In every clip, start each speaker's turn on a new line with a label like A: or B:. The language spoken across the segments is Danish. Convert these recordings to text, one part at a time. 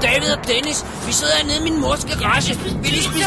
A: Dennis. Vi sidder hernede i min mors garage. Vi lige spise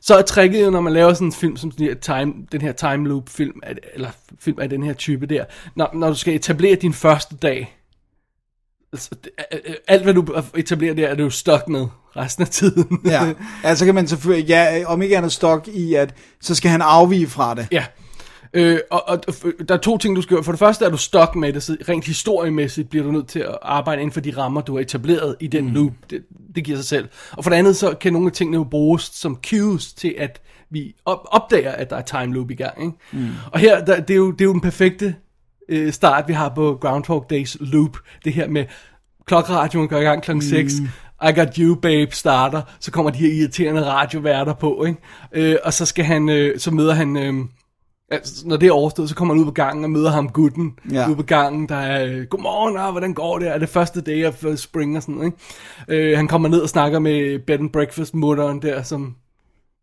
B: Så er tricket jo, når man laver sådan en film, som den her time, den her time loop film, at- eller film af den her type der, når, når du skal etablere din første dag, altså, det- øh, øh, alt hvad du etablerer der, er du jo stuck med resten af tiden.
C: Ja, altså kan man selvfølgelig, ja, om ikke andet stok i, at så skal han afvige fra det.
B: Ja. Øh, og, og der er to ting, du skal gøre. For det første er du stok med det, så rent historiemæssigt bliver du nødt til at arbejde inden for de rammer, du har etableret i den mm. loop. Det, det giver sig selv. Og for det andet, så kan nogle af tingene jo bruges som cues til, at vi op, opdager, at der er time loop i gang. Ikke? Mm. Og her, der, det, er jo, det er jo den perfekte øh, start, vi har på Groundhog Days loop. Det her med klokradioen går i gang klokken 6. I got you, babe, starter. Så kommer de her irriterende radioværter på, ikke? Øh, og så skal han, øh, så møder han... Øh, Altså, når det er overstået, så kommer han ud på gangen og møder ham gutten.
C: Ja.
B: Ja. Ude på gangen, der er, øh, godmorgen, ah, hvordan går det? Er det første day af øh, spring og sådan noget, ikke? Øh, han kommer ned og snakker med bed and breakfast mutteren der, som,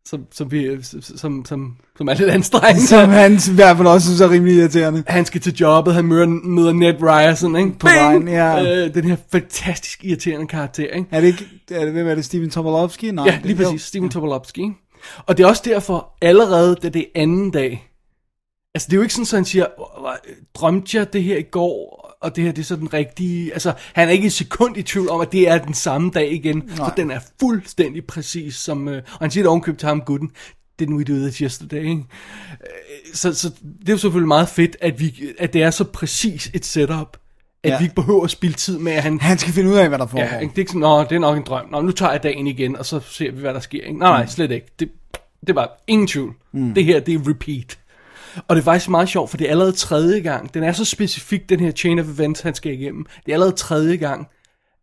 B: som, som, vi, som, som, som er lidt anstrengende.
C: Som han i hvert fald også synes er rimelig irriterende.
B: Han skal til jobbet, han møder, møder Ned Ryerson, ikke?
C: På vejen, ja.
B: Øh, den her fantastisk irriterende karakter, ikke?
C: Er det ikke, er det, hvem er det, Steven Tomalowski? Nej,
B: Ja, lige
C: det-
B: præcis. Steven Tobolowski. ikke? Og det er også derfor, allerede da det er anden dag, altså det er jo ikke sådan, at han siger, "Hvor- drømte jeg det her i går, og det her det er så den rigtige, altså han er ikke et sekund i tvivl om, at det er den samme dag igen, Nej. for den er fuldstændig præcis som, øh, og han siger det ovenkøbt til ham, gutten, didn't we do this yesterday, ikke? Øh, Så, så det er jo selvfølgelig meget fedt, at, vi, at det er så præcis et setup, at
C: Ja.
B: ja. vi ikke behøver at spilde tid med, at han
C: Han skal finde ud af, hvad der foregår.
B: Ja, ikke? det er ikke sådan, Nå, det er nok en drøm. Nå, nu tager jeg dagen igen, og så ser vi, hvad der sker. Ikke? Nej, nej, slet ikke. Det, Det var ingen tvivl. Mm. Det her, det er repeat. Og det er faktisk meget sjovt, for det er allerede tredje gang. Den er så specifik, den her chain of events, han skal igennem. Det er allerede tredje gang,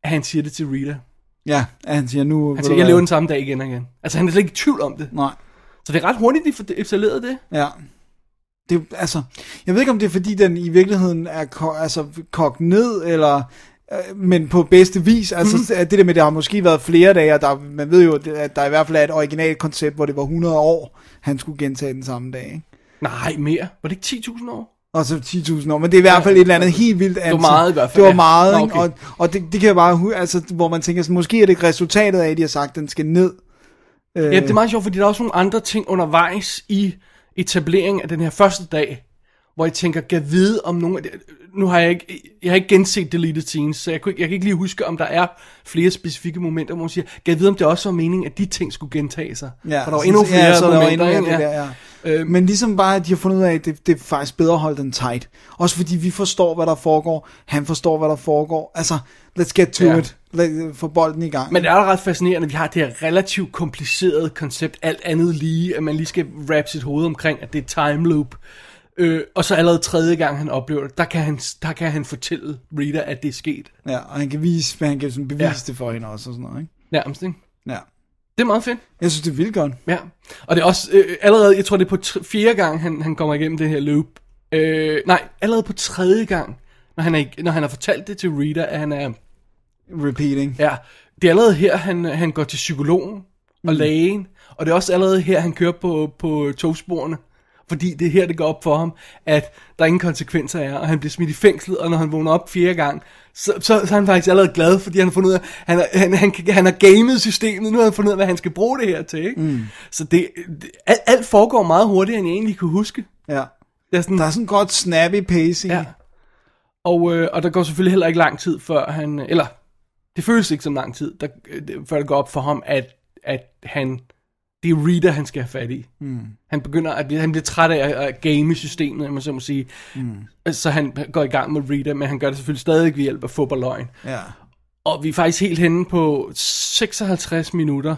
B: at han siger det til Rita.
C: Ja, at han siger nu...
B: Han siger, jeg lever den samme dag igen og igen. Altså, han er slet ikke i tvivl om det.
C: Nej,
B: Så det er ret hurtigt, de får installeret det.
C: ja. Det, er- altså, jeg ved ikke, om det er, fordi den i virkeligheden er ko- altså, kogt ned, eller øh, men på bedste vis, altså
B: Mhm.
C: mm. det der med, det har måske været flere dage, og der, man ved jo, at der i hvert fald er et originalt koncept, hvor det var 100 år, han skulle gentage den samme dag. Ikke?
B: Nej, mere. Var det ikke 10.000 år?
C: Og så 10.000 år, men det er i hvert fald et eller andet helt vildt antal.
B: meget i hvert fald,
C: Det var
B: ja.
C: meget,
B: Nå,
C: ikke?
B: okay.
C: og, og det, det kan jeg bare, hu- altså, hvor man tænker, sådan, måske er det ikke resultatet af, at de har sagt, at den skal ned.
B: Ja,
C: Øhm.
B: det er meget sjovt, fordi der er også nogle andre ting undervejs i etableringen af den her første dag, hvor jeg tænker, kan vide om nogle af de, Nu har jeg ikke, jeg har ikke genset Deleted Scenes, så jeg, kunne, ikke- jeg kan ikke lige huske, om der er flere specifikke momenter, hvor man siger, kan vide, om det også var meningen, at de ting skulle gentage sig.
C: Ja,
B: for der var
C: sådan-
B: endnu flere
C: ja, så der var
B: momenter.
C: endnu mere
B: ikke?
C: det der, ja. Øh, men ligesom bare, at de har fundet ud af, at det, det er faktisk bedre at holde den tight. Også fordi vi forstår, hvad der foregår. Han forstår, hvad der foregår. Altså, let's get to
B: Ja.
C: ja. it. Let, få bolden i gang.
B: Men det er da ret fascinerende, at vi har det her relativt komplicerede koncept, alt andet lige, at man lige skal wrap sit hoved omkring, at det er time loop. Øh, og så allerede tredje gang, han oplever det, der kan han, der kan han fortælle Rita, at det er sket.
C: ja, og han kan vise, men han kan sådan bevise
B: Ja.
C: ja. det for hende også og sådan noget, ikke?
B: Nærmest, ikke?
C: Ja.
B: Det er meget fedt.
C: Jeg synes, det er vildt godt.
B: Ja. Og det er også øh, allerede, jeg tror det er på tr- fjerde gang, han, han kommer igennem det her loop. Øh, nej, allerede på tredje gang, når han, er, i- når han har fortalt det til Rita, at han er...
C: Repeating.
B: Ja, det er allerede her, han, han går til psykologen og lægen, og det er også allerede her, han kører på, på togsporene, fordi det er her, det går op for ham, at der ingen konsekvenser er, og han bliver smidt i fængsel, og når han vågner op fjerde gang, så, så, så er han faktisk allerede glad, fordi han har fundet ud af, han, har- han, han, kan- han har gamet systemet, nu har han fundet ud af, hvad han skal bruge det her til, ikke? Mm. Så det, det alt, alt foregår meget hurtigere, end jeg egentlig kunne huske.
C: Ja.
B: Det er sådan,
C: Der er sådan godt snappy pacing.
B: Ja. Og, øh, og der går selvfølgelig heller ikke lang tid, før han... Eller, det føles ikke som lang tid, der, øh, det- før det går op for ham, at, at han... Det er Rita, han skal have fat i. Mm. Han begynder at blive, han bliver træt af at- at game systemet, om man så må sige. Mm. Så han går i gang med Rita, men han gør det selvfølgelig stadig ved hjælp af fodboldløgn.
C: ja.
B: Og vi er faktisk helt henne på 56 minutter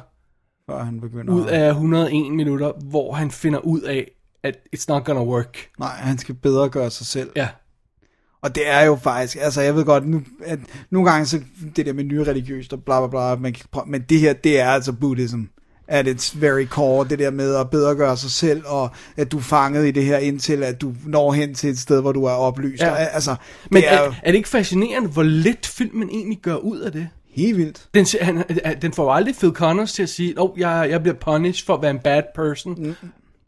C: Før han begynder.
B: ud
C: at-
B: af 101 minutter, hvor han finder ud af, at it's not gonna work.
C: Nej, han skal bedre gøre sig selv.
B: Ja.
C: Og det er jo faktisk, altså jeg ved godt, nu, at nogle gange så det der med nye religiøst og bla bla bla, man kan prøve, men det her, det er altså buddhism at its very core, det der med at bedre gøre sig selv, og at du er fanget i det her, indtil at du når hen til et sted, hvor du er oplyst.
B: Ja.
C: Ja. Og, altså,
B: Men
C: det er,
B: er,
C: jo
B: er det ikke fascinerende, hvor let filmen egentlig gør ud af det?
C: helt vildt.
B: Den, siger- han, han- den får jo aldrig Phil Connors til at sige, oh, jeg, jeg bliver punished for at være en bad person. Mm.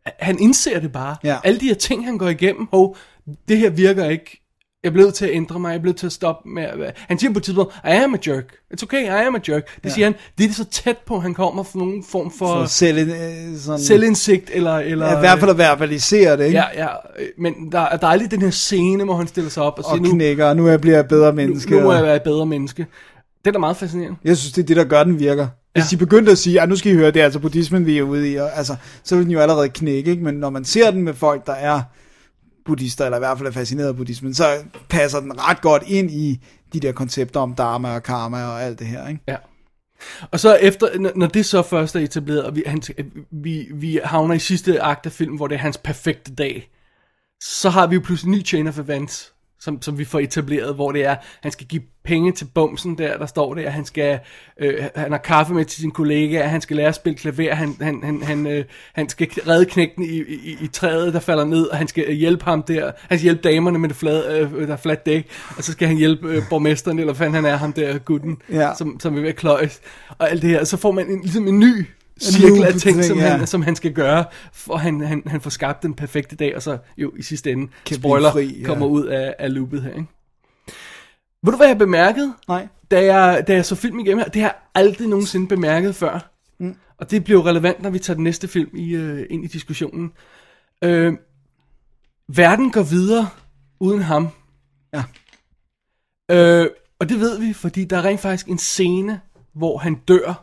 B: Han indser det bare.
C: Ja.
B: Alle de her ting, han går igennem, hov, det her virker ikke. Jeg bliver nødt til at ændre mig, jeg bliver nødt til at stoppe med at være-" Han siger på et tidspunkt, I am a jerk. It's okay, I am a jerk. Det ja. siger han, det er så tæt på, han kommer for nogen form for,
C: For
B: for
C: selv, øh, sådan,
B: selvindsigt, eller... eller
C: ja, i hvert fald at verbalisere det, ikke?
B: Ja, ja, øh, men der, er- der er aldrig den her scene, hvor han stiller sig op og,
C: og
B: siger, nu,
C: knækker, og nu er jeg bliver jeg et bedre menneske.
B: nu må
C: og-
B: jeg være et bedre menneske. Det er da meget fascinerende.
C: Jeg synes, det er det, der gør, den virker. Hvis
B: Ja.
C: ja. de begyndte at sige, at nu skal I høre, det er altså buddhismen, vi er ude i, og, altså, så vil den jo allerede knække, ikke? men når man ser den med folk, der er buddhister, eller i hvert fald er fascineret af buddhismen, så passer den ret godt ind i de der koncepter om dharma og karma og alt det her. Ikke?
B: Ja. Og så efter, når- når det så først er etableret, og vi, han, vi, vi havner i sidste akt af filmen, hvor det er hans perfekte dag, så har vi jo pludselig en ny chain of events, som, som vi får etableret, hvor det er, han skal give penge til bumsen der, der står der, han skal, øh, han har kaffe med til sin kollega, han skal lære at spille klaver, han, han, han, han, øh, han skal redde knægten i, i, i træet, der falder ned, og han skal hjælpe ham der, han skal hjælpe damerne med det flade, øh, der er fladt dæk, og så skal han hjælpe øh, borgmesteren, eller hvad fanden han er, ham der gutten,
C: Ja.
B: som, som vil være kløjs, og alt det her, så får man en, ligesom en ny cirkel af ting, som,
C: Ja.
B: han, som han skal gøre, for han, han, han får skabt den perfekte dag, og så jo i sidste ende,
C: Kan blive
B: spoiler,
C: fri, ja.
B: kommer ud af, af loopet her, ikke? Ved du, hvad jeg bemærkede,
C: Nej.
B: da jeg, da jeg så film igennem her? Det har jeg aldrig nogensinde bemærket før. Mm. Og det bliver jo relevant, når vi tager den næste film i, øh, ind i diskussionen. Øh, verden går videre uden ham.
C: Ja.
B: Øh, og det ved vi, fordi der er rent faktisk en scene, hvor han dør,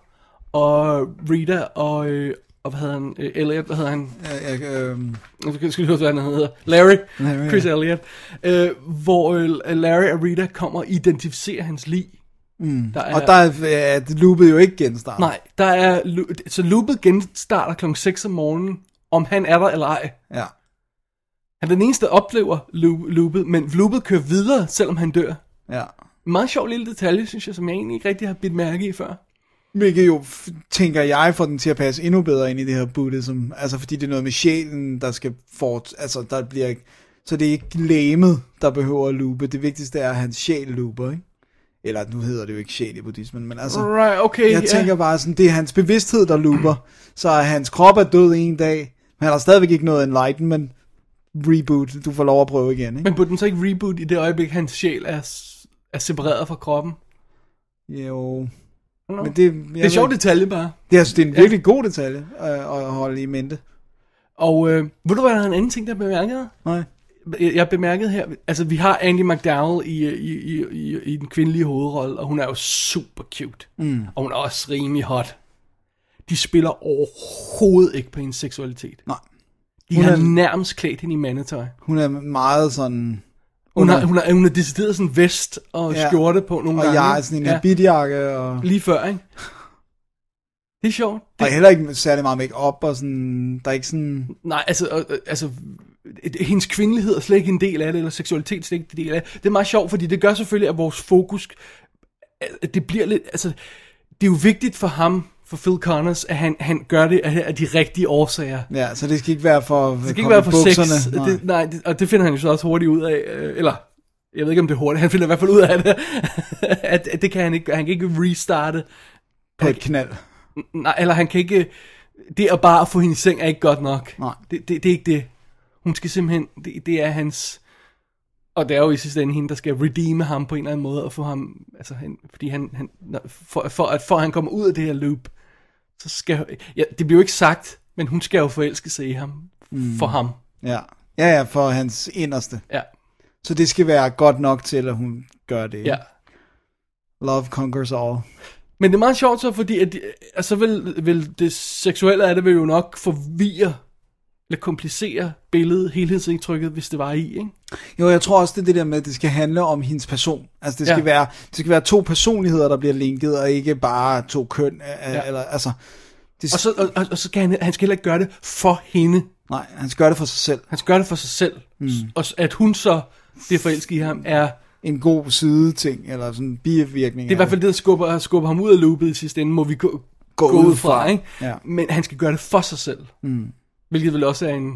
B: og Rita og, øh, og hvad hedder han, øh, Elliot, hvad hedder han,
C: Jeg, jeg, øh,
B: nu skal skal vi høre, hvad han hedder, Larry,
C: Larry,
B: Chris
C: ja.
B: Elliot, øh, hvor øh, Larry og Rita kommer og identificerer hans lig, Der er,
C: Mm. Og der er, ja, det loopede jo ikke genstart.
B: Nej, der er... lo- Så loopet genstarter klokken 6 om morgenen, om han er der eller ej.
C: Ja.
B: Han er den eneste, der oplever loo- loopet, men loopet kører videre, selvom han dør.
C: ja.
B: En meget sjov lille detalje, synes jeg, som jeg egentlig ikke rigtig har bidt mærke i før.
C: Hvilket jo, f- tænker jeg, får den til at passe endnu bedre ind i det her buddhism. Altså, fordi det er noget med sjælen, der skal fort... Altså, der bliver ikke... Så det er ikke læmet, der behøver at loope. Det vigtigste er, at hans sjæl looper, ikke? Eller nu hedder det jo ikke sjæl i buddhismen, men altså...
B: Right, okay.
C: Jeg tænker bare sådan, det er hans bevidsthed, der looper. Så er hans krop er død en dag, men han har stadigvæk ikke noget enlightenment. Reboot, du får lov at prøve igen, ikke?
B: Men burde den så ikke reboot i det øjeblik, hans sjæl er, s- er separeret fra kroppen?
C: Jo...
B: Nå.
C: Men det, jeg
B: Det er en sjov detalje bare.
C: Det er, det er en virkelig god detalje øh, at holde i mente.
B: Og øh, ved du, hvad der er en anden ting, der bemærkede?
C: Nej.
B: Jeg jeg bemærkede her, altså vi har Andy McDowell i, øh, i, i, i, i den kvindelige hovedrolle, og hun er jo super cute. Mm. Og hun er også rimelig hot. De spiller overhovedet ikke på hendes seksualitet.
C: Nej.
B: De
C: Hun
B: har
C: er-
B: nærmest klædt hende i mandetøj.
C: Hun er meget sådan...
B: Hun har, hun har, hun har decideret sådan vest og ja.
C: Ja.
B: skjorte på nogle
C: Og
B: gange.
C: jeg er sådan en
B: ja.
C: ja. bitjakke, og,
B: Lige før, ikke? Det er sjovt.
C: og heller ikke særlig meget make op og sådan... Der er ikke sådan...
B: Nej, altså, og- og- altså, øh, hendes kvindelighed er slet ikke en del af det, eller seksualitet er slet ikke en del af det. Det er meget sjovt, fordi det gør selvfølgelig, at vores fokus, at det bliver lidt, altså, det er jo vigtigt for ham, for Phil Connors, at han, han gør det af, af de rigtige årsager.
C: Ja, så det skal ikke være for...
B: Det skal ikke være for sex. Det, nej, det, og det finder han jo så også hurtigt ud af, øh, eller, jeg ved ikke om det er hurtigt, han finder i hvert fald ud af det, at, at det kan han ikke, gøre. han kan ikke restarte,
C: på et knald.
B: nej, eller han kan ikke, det at bare få hende i seng er ikke godt nok.
C: Nej.
B: Det, det, det er ikke det. Hun skal simpelthen, det, det er hans, og det er jo i sidste ende hende, der skal redeeme ham på en eller anden måde, og få ham, altså han, fordi han, han for, for, at for at han kommer ud af det her loop, så skal, ja, det bliver jo ikke sagt, men hun skal jo forelske sig i ham, mm. for ham,
C: Ja. ja, ja, for hans inderste.
B: ja,
C: Så det skal være godt nok til, at hun gør det. ikke?
B: ja.
C: Love conquers all.
B: Men det er meget sjovt så, fordi at, at så vil, vil det seksuelle af det vil jo nok forvirre, eller komplicere billedet, helhedsindtrykket, hvis det var i, ikke?
C: Jo, jeg tror også, det er det der med, at det skal handle om hendes person. Altså, det skal,
B: Ja.
C: ja. være, det skal være to personligheder, der bliver linket, og ikke bare to køn. Ja. Eller, altså, det,
B: Og så, og- og, og så skal han, han skal heller ikke gøre det for hende.
C: Nej, han skal gøre det for sig selv.
B: Han skal gøre det for sig selv. Mm. Og s- at hun så bliver forelsket i ham, er...
C: En god side ting, eller sådan en bivirkning.
B: Det er i hvert fald det, der skubber, skubber ham ud af loopet i sidste ende, må vi gå, gå, ud fra, ikke?
C: Ja.
B: Men han skal gøre det for sig selv. Mm. Hvilket vel også er en...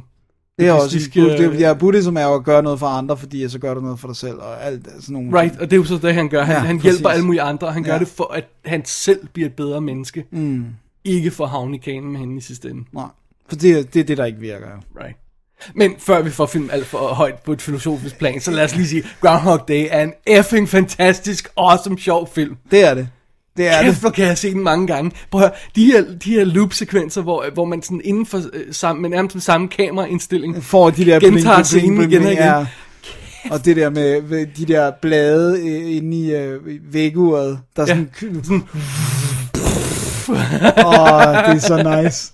C: det er også,
B: buddhistisk,
C: det,
B: øh,
C: det, ja, buddhism er jo at gøre noget for andre, fordi så gør du noget for dig selv, og alt sådan nogle
B: Right, og det er jo så det, han gør. Han, ja,
C: Ja,
B: han
C: præcis.
B: hjælper alle mulige andre, og han gør
C: Ja.
B: det for, at han selv bliver et bedre menneske. Mm. Ikke for at havne i kanen med hende i sidste ende.
C: Nej, for det, er- det er det, der ikke virker jo.
B: Right. Men før vi får film alt for højt på et filosofisk plan, så lad os lige sige, Groundhog Day er en effing fantastisk, awesome, sjov film.
C: Det er det. Det er
B: Kæft,
C: det.
B: hvor kan jeg se den mange gange. Prøv at høre, de her, de her loop-sekvenser, hvor, hvor man sådan inden for øh, samme, men nærmest med samme kameraindstilling,
C: Får de der
B: Gentager scenen igen og igen.
C: ja. Og det der med, med de der blade øh, inde i øh, væguret, der er
B: Ja.
C: sådan... Åh, det er så nice.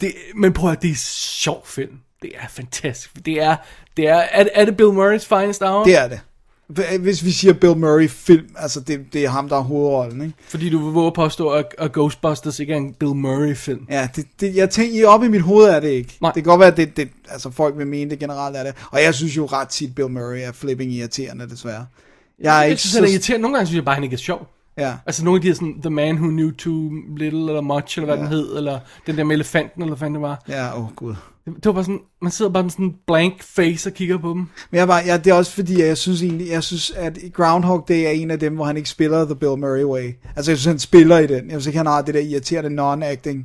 B: det, men prøv at høre, det er sjov film. Det er fantastisk. Det er, det er, er, det- er det Bill Murray's finest hour?
C: Det er det. Hvis vi siger Bill Murray film, altså det, det er ham, der er hovedrollen, ikke?
B: Fordi du vil våge at påstå, at, at Ghostbusters ikke er en Bill Murray-film.
C: Ja, det, det, jeg tænker, I op i mit hoved er det ikke.
B: Nej.
C: Det kan godt være, at det, det, altså folk vil mene det generelt er det. Og jeg synes jo ret tit, Bill Murray er flipping irriterende, desværre. Jeg er
B: Jeg
C: ikke
B: synes, han er
C: så...
B: irriterende. Nogle gange synes jeg bare, han ikke er sjov.
C: Ja.
B: Altså nogle af de her sådan, The Man Who Knew Too Little, eller Much, eller hvad ja. den hed, eller den der med elefanten, eller hvad fanden det var.
C: Ja, åh oh, gud.
B: Det var bare sådan, man sidder bare med sådan en blank face og kigger på dem.
C: Men jeg var, ja, det er også fordi, at jeg synes egentlig, jeg synes, at Groundhog Day er en af dem, hvor han ikke spiller The Bill Murray Way. Altså, jeg synes, han spiller i den. Jeg synes ikke, han har det der irriterende non-acting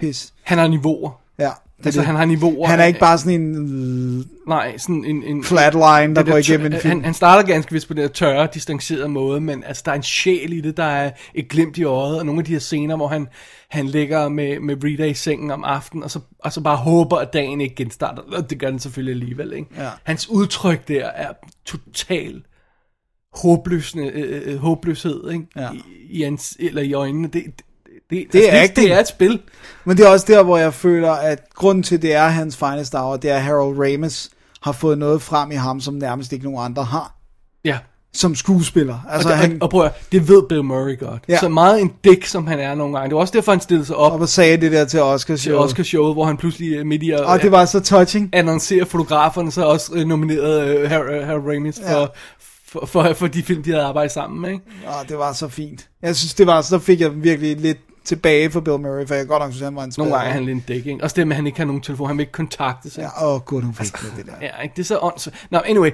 C: pis.
B: Han har niveauer.
C: Ja, det,
B: Altså,
C: det.
B: han har niveauer.
C: Han er ikke bare sådan en
B: Nej, sådan en... en
C: flatline, der
B: det
C: går
B: tør-
C: igennem en film.
B: han, han starter ganske vist på den der tørre, distancerede måde, men altså, der er en sjæl i det, der er et glimt i øjet, og nogle af de her scener, hvor han, han ligger med, med Rita i sengen om aftenen, og så, og så bare håber, at dagen ikke genstarter. Og det gør den selvfølgelig alligevel, ikke?
C: Ja.
B: Hans udtryk der er total håbløsende, øh, øh, håbløshed, ikke?
C: Ja.
B: I, i, hans, eller i øjnene. Det, det, det,
C: Det er
B: altså,
C: acting.
B: det er et spil.
C: Men det er også der, hvor jeg føler, at grunden til, det er hans finest hour, det er, at Harold Ramis har fået noget frem i ham, som nærmest ikke nogen andre har.
B: Ja.
C: som skuespiller. Altså,
B: og, han...
C: han
B: og prøv at, høre, det ved Bill Murray godt.
C: Ja.
B: Ja. Så meget en dæk, som han er nogle gange. Det var også derfor, han stillede sig op
C: og sagde det der til Oscar
B: til
C: show.
B: Oscar-showet, hvor han pludselig øh, midt i at
C: Og det var så touching.
B: annoncere fotograferne, så også øh, nominerede øh, Harold Har Ramis for,
C: Ja.
B: ja. for, for, for de film, de havde arbejdet sammen med. Ikke?
C: Åh, det var så fint. Jeg synes, det var, så fik jeg virkelig lidt tilbage for Bill Murray, for jeg godt nok synes, han var en spiller.
B: Nogle gange er han lidt en dæk, ikke? Også det med, at han ikke har nogen telefon, han vil ikke kontakte sig.
C: Ja, åh gud, hun fik med det der.
B: Ja, ikke? det er så åndssvagt. Nå, anyway,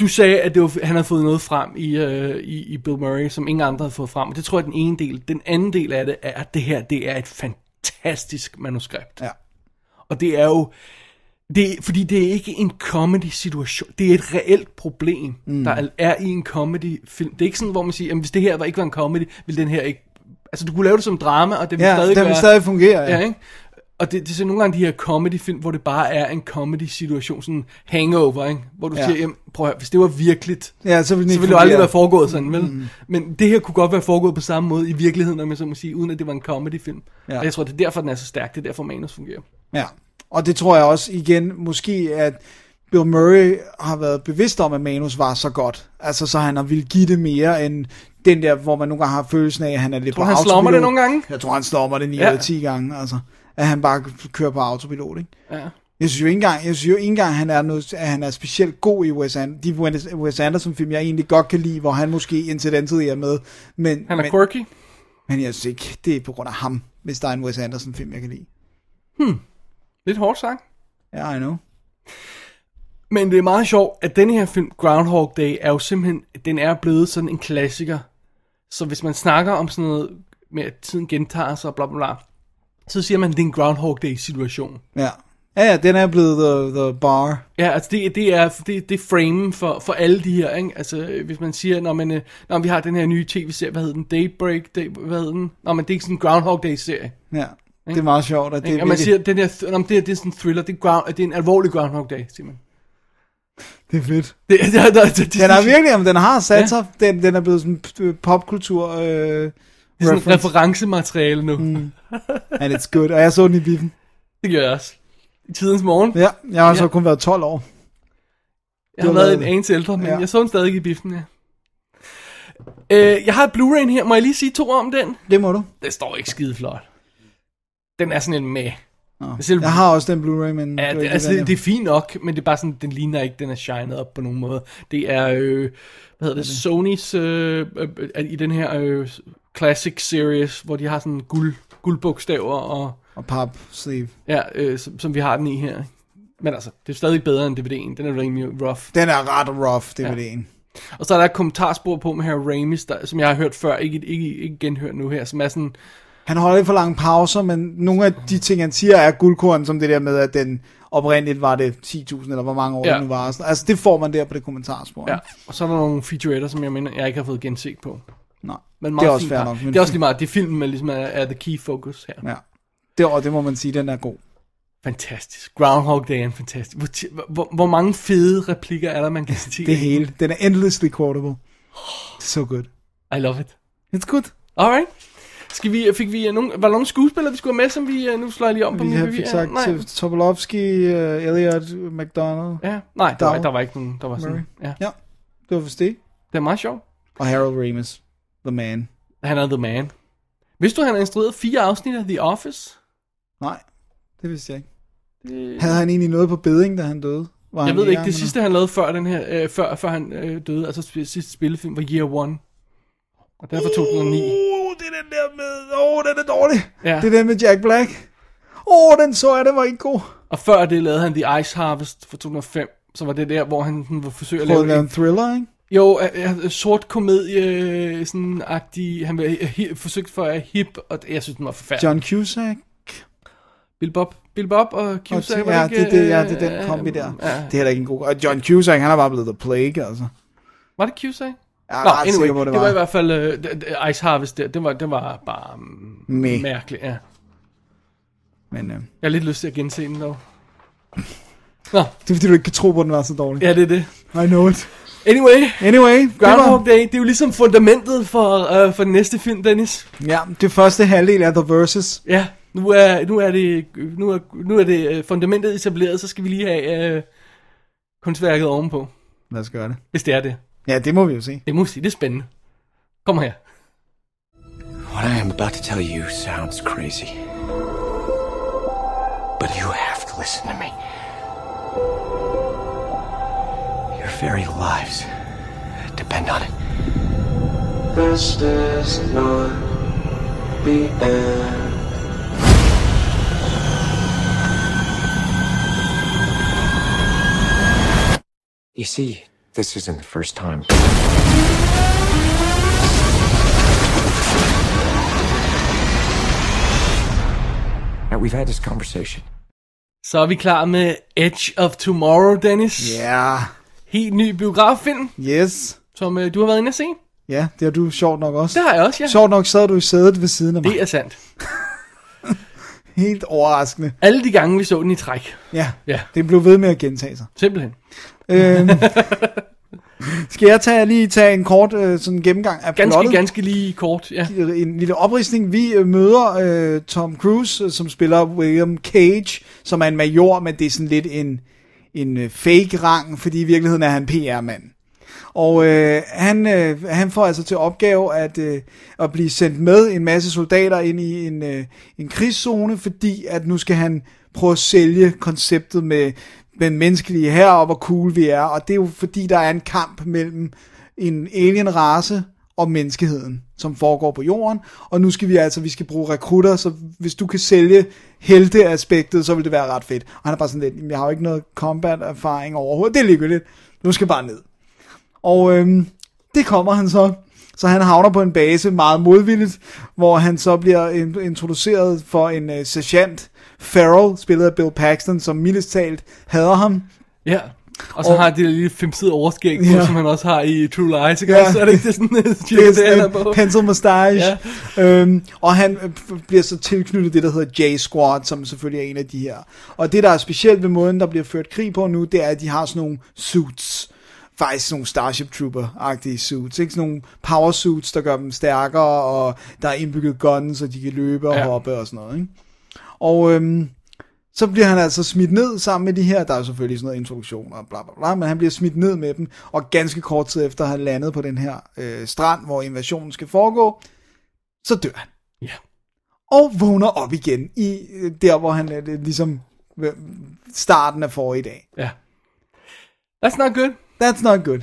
B: du sagde, at det var, han havde fået noget frem i, øh, i, i Bill Murray, som ingen andre havde fået frem. Og det tror jeg er den ene del. Den anden del af det er, at det her, det er et fantastisk manuskript.
C: Ja.
B: Og det er jo... Det, er- fordi det er ikke en comedy-situation. Det er et reelt problem, mm. der er i en comedy-film. Det er ikke sådan, hvor man siger, at hvis det her var- ikke var en comedy, ville den her ikke... Altså, du kunne lave det som drama, og det ville
C: Ja,
B: stadig
C: den vil
B: være...
C: stadig fungere, ja.
B: ja ikke? Og det, det er så nogle gange de her comedy-film, hvor det bare er en comedy-situation, sådan hangover, ikke? Hvor du
C: Ja.
B: ja. siger, jamen, prøv at høre, hvis det var virkeligt,
C: Ja, så ville den
B: så
C: ikke
B: ville det jo aldrig
C: fungere.
B: være foregået sådan, vel? Mm. Men det her kunne godt være foregået på samme måde i virkeligheden, om jeg så må sige, uden at det var en comedy-film.
C: Ja.
B: Ja. Og jeg tror, det er derfor, den er så stærk. Det er derfor, manus fungerer.
C: Ja, og det tror jeg også igen, måske at Bill Murray har været bevidst om, at manus var så godt. Altså, så han har ville give det mere end den der, hvor man nogle gange har følelsen af, at han er lidt
B: Tror
C: på
B: du, han slummer
C: autopilot.
B: det nogle gange?
C: Jeg tror, han slummer det 9
B: Ja.
C: eller 10 gange, altså. At han bare kører på autopilot, ikke?
B: Ja.
C: Jeg synes jo ikke engang, jeg synes jo ikke engang han er noget, at han er specielt god i Wes, An- de Wes- Wes Anderson film, jeg egentlig godt kan lide, hvor han måske indtil den tid er med. Men,
B: Han er
C: men,
B: quirky.
C: men jeg synes ikke, det er på grund af ham, hvis der er en Wes Anderson film, jeg kan lide.
B: Lidt hårdt sagt.
C: Ja, yeah, I know.
B: Men det er meget sjovt, at den her film, Groundhog Day, er jo simpelthen, den er blevet sådan en klassiker. Så hvis man snakker om sådan noget med, at tiden gentager sig og bla bla bla, så siger man, at det er en Groundhog Day-situation.
C: Ja. Ja, ja, den er blevet the, the bar.
B: Ja, altså det, det er det, det er frame for, for alle de her, ikke? Altså øh, hvis man siger, når, man, øh, når vi har den her nye tv-serie, hvad hedder den? Daybreak? Day, hvad hedder den? Nå, men det er ikke sådan en Groundhog Day-serie.
C: Ja. Det er meget sjovt, at det
B: Ikke?
C: er
B: Og man
C: virkelig,
B: siger, den her, th- nå, men det, her, det er sådan en thriller, det er, ground, det er en alvorlig Groundhog Day, siger man.
C: det er fedt.
B: Det, det, det, det, det,
C: Den er virkelig, om den har sat
B: Ja.
C: sig, den, den er blevet sådan øh, popkultur øh,
B: Det er sådan
C: reference,
B: referencemateriale nu. Mm.
C: and it's good. Og jeg så den i biffen.
B: Det gør jeg også. I tidens morgen.
C: Ja, jeg har så
B: Ja.
C: kun været 12 år.
B: Jeg har
C: har
B: været
C: været
B: en anelse ældre, men
C: Ja.
B: ja. jeg så den stadig i biffen, ja. Øh, jeg har et Blu-ray her. Må jeg lige sige to ord om den?
C: Det må du.
B: Det står ikke skide flot. Den er sådan en med.
C: Nå.
B: Selv-
C: Jeg har også den Blu-ray, men...
B: Ja, det,
C: ikke
B: altså,
C: den,
B: det,
C: jeg-
B: det er fint nok, men det er bare sådan, den ligner ikke, den er shined op på nogen måde. Det er, øh, hvad hedder det, Sonys, øh, øh, øh, i den her øh, Classic Series, hvor de har sådan guld, guldbogstaver og...
C: Og pap sleeve.
B: Ja, øh, som, som vi har den i her. Men altså, det er stadig bedre end DVD'en. Den er rimelig rough.
C: Den er ret rough, DVD'en.
B: Og så er der et kommentarspor på med Harry Ramis, der, som jeg har hørt før, ikke, ikke, ikke genhørt nu her, som er sådan,
C: Han holder lidt for lange pauser, men nogle af de ting, han siger, er guldkorn, som det der med, at den oprindeligt var det 10.000, eller hvor mange år ja.
B: Ja.
C: det nu var. og sådan- Altså, det får man der på det kommentarspor.
B: ja. Og så er der nogle featuretter, som jeg mener, jeg ikke har fået genset på.
C: Nej,
B: Men
C: det
B: meget
C: er også
B: fint par.
C: fair nok.
B: Det er også lige meget, det er filmen, der ligesom er, er the key focus her. Ja.
C: Ja. Det, og det må man sige, den er god.
B: Fantastisk. Groundhog Day er en fantastisk. Hvor, ti- hvor- hvor, hvor, mange fede replikker er der, man kan sige?
C: Det hele. Den er endlessly quotable. So good.
B: I love it.
C: It's good.
B: Alright. Skal vi, fik vi øh, nogen, var der nogen skuespillere, vi skulle have med, som vi, øh, nu slår jeg lige om på
C: Vi
B: dem,
C: har
B: men
C: fik sagt
B: nej.
C: til Topolovsky, uh, Elliot, McDonald.
B: Ja, nej, der,
C: Dag.
B: var, der var ikke nogen, der var sådan. Ja,
C: Ja, det var vist det.
B: det er meget sjovt.
C: Og Harold Ramis. The man.
B: Han er The Man. Vidste du, han har instrueret fire afsnit af The Office?
C: Nej, det vidste jeg ikke. Havde han egentlig noget på beding, da han døde? Var
B: Jeg
C: han
B: ved
C: i
B: ikke,
C: gang
B: det
C: med
B: sidste han lavede før, den her, øh, før, før han øh, døde, altså sp- sidste spillefilm, var Year One. Og den er fra 2009.
C: noget? Uh, det er den der med... Åh, oh, den er dårlig.
B: Ja.
C: Det er den med Jack Black. Åh, oh, den så jeg, den var ikke god.
B: Og før det lavede han The Ice Harvest fra 2005. Så var det der, hvor han sådan, var forsøgt at
C: Prøvede
B: lave
C: at lave
B: en,
C: en thriller, ikke?
B: jo, øh, øh, sort komedie, øh, sådan agtig, han var øh, hi- forsøgt for at hip, og jeg synes, den var forfærdelig.
C: John Cusack.
B: Bill Bob, Bill Bob og
C: Og-
B: Cusack, var
C: ja,
B: ikke,
C: det, det, ja,
B: øh,
C: det er den
B: øh,
C: kombi der.
B: Ja.
C: Det er da ikke en god... Og John Cusack, han er bare blevet The Plague, altså.
B: Var det Cusack?
C: Jeg er
B: Nå,
C: ret sikker
B: anyway,
C: på,
B: det,
C: det
B: det var
C: var.
B: i hvert fald øh, d- d- Ice Harvest der. Det var, det var bare mm,
C: Meh.
B: mærkeligt, ja.
C: Men øh,
B: Jeg har lidt lyst til at gense den dog. Nå,
C: det er fordi, du ikke kan tro på, at den var så dårlig.
B: ja, det er det.
C: I know it.
B: Anyway,
C: Anyway, det
B: Groundhog Day, det er jo ligesom fundamentet for, øh, for den næste film, Dennis.
C: var, ja, det første halvdel af The Versus.
B: Ja, nu er, nu er det, nu er, nu er det øh, fundamentet etableret, så skal vi lige have øh, kunstværket ovenpå,
C: Lad os gøre det.
B: hvis det er det.
C: Ja, det må vi jo se.
B: Det må vi sige, det er spændende. Kom her.
D: What I am about to tell you sounds crazy. But you have to listen to me. Your very lives depend on it.
E: This is not the end.
D: You see, this isn't the first time. Now, we've had this conversation.
B: Så er vi klar med Edge of Tomorrow, Dennis.
C: Ja,
B: Helt ny biograffilm,
C: yes.
B: som øh, du har været inde at se.
C: Ja, det har du sjovt nok også.
B: Det har jeg også, ja.
C: Sjovt nok sad du i sædet ved siden af mig.
B: Det er sandt.
C: Helt overraskende.
B: Alle de gange, vi så den i træk.
C: Ja,
B: Ja.
C: det blev ved med at gentage sig.
B: Simpelthen.
C: Øhm, skal jeg tage, lige tage en kort øh, sådan gennemgang af
B: Ganske,
C: plottet?
B: ganske lige kort, ja.
C: en lille opridsning. Vi øh, møder øh, Tom Cruise, øh, som spiller William Cage, som er en major, men det er sådan lidt en, en øh, fake-rang, fordi i virkeligheden er han PR-mand. Og øh, han, øh, han får altså til opgave at, øh, at blive sendt med en masse soldater ind i en, øh, en krigszone, fordi at nu skal han prøve at sælge konceptet med den menneskelige heroppe, hvor cool vi er. Og det er jo fordi, der er en kamp mellem en alien race og menneskeheden, som foregår på jorden. Og nu skal vi altså, vi skal bruge rekrutter, så hvis du kan sælge helteaspektet, så vil det være ret fedt. Og han er bare sådan lidt, "Jamen, jeg har jo ikke noget combat-erfaring overhovedet, det er ligegyldigt. Nu skal jeg bare ned. Og øhm, det kommer han så. Så han havner på en base meget modvilligt, hvor han så bliver in- introduceret for en øh, sergeant, Farrell, spillet af Bill Paxton, som mildest talt hader ham.
B: Ja. Og så
C: Og-
B: har han det der lille femtede overskæg, på,
C: Ja.
B: som han også har i True Lies, ikke?
C: Ja.
B: Ja. Så er det ikke det sådan,
C: Det er
B: det,
C: sådan
B: han er
C: en
B: på.
C: pencil mustache. Ja. Øhm, og han øh, f- bliver så tilknyttet det, der hedder J-Squad, som selvfølgelig er en af de her. Og det, der er specielt ved måden, der bliver ført krig på nu, det er, at de har sådan nogle suits. Faktisk sådan nogle Starship Trooper-agtige suits. Ikke? Sådan nogle power suits, der gør dem stærkere, og der er indbygget guns, så de kan løbe og
B: Ja.
C: ja. hoppe og sådan noget. Ikke? Og øhm, så bliver han altså smidt ned sammen med de her, der er jo selvfølgelig sådan noget introduktion og bla bla bla, men han bliver smidt ned med dem, og ganske kort tid efter han landet på den her øh, strand, hvor invasionen skal foregå, så dør han.
B: Ja.
C: Og vågner op igen, i øh, der hvor han er øh, ligesom øh, starten af forrige dag.
B: ja. That's not good.
C: That's not good.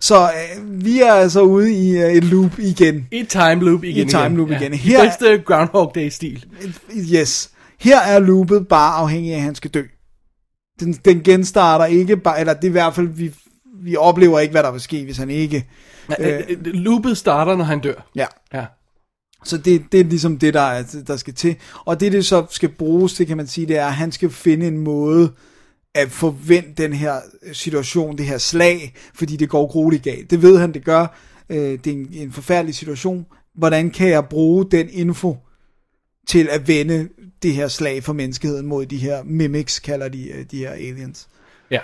C: Så øh, vi er altså ude i øh, et loop igen.
B: I time loop igen.
C: time
B: igen.
C: loop igen.
B: Ja.
C: Her-
B: I bedste Groundhog Day-stil.
C: Yes. Her er loopet bare afhængig af, at han skal dø. Den, den genstarter ikke, bare, eller det er i hvert fald, vi, vi oplever ikke, hvad der vil ske, hvis han ikke...
B: Øh, øh, loopet starter, når han dør.
C: Ja.
B: Ja.
C: Så det, det er ligesom det, der, er, der skal til. Og det, det så skal bruges til, kan man sige, det er, at han skal finde en måde at forvente den her situation, det her slag, fordi det går grueligt galt. Det ved han, det gør. Øh, det er en, en forfærdelig situation. Hvordan kan jeg bruge den info til at vende det her slag for menneskeheden mod de her mimics, kalder de øh, de her aliens.
B: Ja.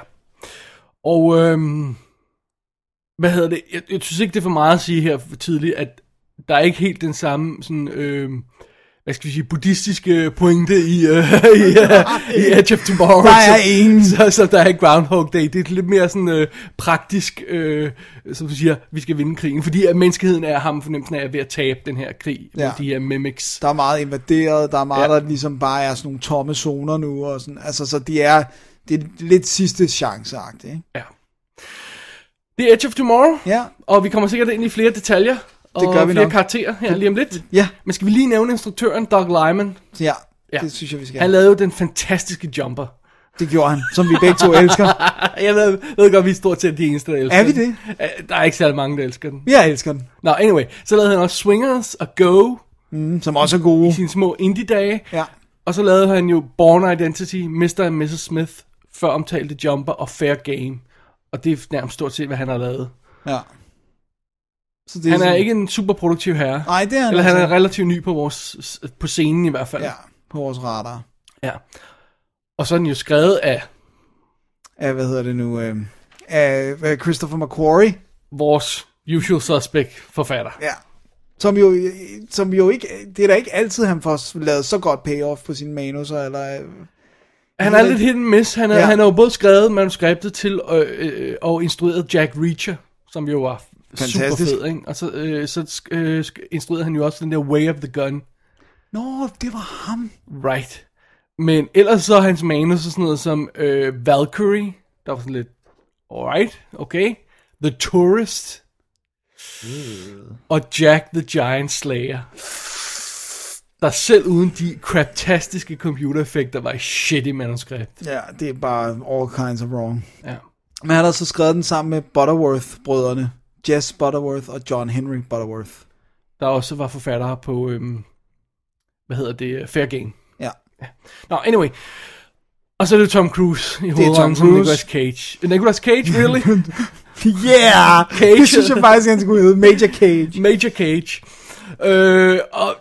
B: Og øhm, hvad hedder det? Jeg, jeg synes ikke, det er for meget at sige her for tidligt, at der er ikke helt den samme sådan, øhm, hvad skal vi sige, buddhistiske pointe i, øh, i, øh, i Edge of Tomorrow.
C: Der er
B: som-
C: ingen.
B: Så, så der er i Groundhog Day. Det er lidt mere sådan øh, praktisk, øh, som du siger, vi skal vinde krigen. Fordi at menneskeheden er ham fornemmelsen af at være ved at tabe den her krig ja.
C: Ja.
B: med de her mimics.
C: Der er meget invaderet, der er meget,
B: Ja.
C: ja. der ligesom bare er sådan nogle tomme zoner nu, og sådan, altså, så det er, det er lidt sidste chance ikke?
B: Ja. Det er Edge of Tomorrow.
C: Ja,
B: Og vi kommer sikkert ind i flere detaljer. Og
C: Det gør vi
B: flere
C: nok.
B: karakterer her lige om lidt.
C: Ja,
B: Men skal vi lige nævne instruktøren Doug Lyman?
C: ja.
B: Ja.
C: ja. Det synes jeg, vi skal.
B: Han lavede jo den fantastiske Jumper.
C: Det gjorde han, som vi begge to elsker.
B: Jeg ved, ved godt, vi er stort set de eneste, der elsker
C: Er vi
B: den. Øh, Der er ikke særlig mange, der elsker den.
C: Jeg elsker den.
B: Nå, anyway. Så lavede han også Swingers og Go,
C: Mm, som også er gode.
B: sine små indie-dage.
C: Ja.
B: Og så lavede han jo Born Identity, Mr. and Mrs. Smith, før omtalte Jumper og Fair Game. Og det er nærmest stort set, hvad han har lavet.
C: ja. Så det
B: Han er
C: sådan-
B: ikke en super produktiv herre.
C: Nej, det er han
B: Eller han er
C: altså.
B: relativt ny på, vores, på scenen i hvert fald.
C: Ja, på vores radar.
B: ja. Og så er den jo skrevet af
C: Af, hvad hedder det nu? Øh, af øh, Christopher McQuarrie.
B: vores usual suspect forfatter.
C: Ja. Som jo, som jo ikke, det er da ikke altid, han får lavet så godt payoff på sine manuser, eller... øh,
B: Han er lidt hit and miss. Han er, ja.
C: Ja.
B: han er jo både skrevet manuskriptet til og, øh, og øh, instrueret Jack Reacher, som jo var
C: Fantastisk.
B: super fed, ikke? Og så, øh, så sk- øh, sk- instruerede han jo også den der Way of the Gun.
C: Nå, det var ham.
B: Right. Men ellers så er hans manus sådan noget som øh, Valkyrie, der var sådan lidt, alright, okay. The Tourist. Og Jack the Giant Slayer. Der selv uden de craptastiske computereffekter var et shitty manuskript.
C: Ja, det er bare all kinds of wrong.
B: Ja.
C: Men han har så skrevet den sammen med Butterworth-brødrene. Jess Butterworth og John Henry Butterworth.
B: Der også var forfattere på, øhm, hvad hedder det, øh, Fair Game.
C: Ja.
B: Nå, anyway. Og så er det Tom Cruise i hovedrollen
C: Tom
B: som
C: Cruise.
B: Nicolas Cage. Nicolas Cage, really?
C: Yeah!
B: Cage.
C: Det synes jeg faktisk, han skulle hedde. Major Cage.
B: Major Cage. Øh, og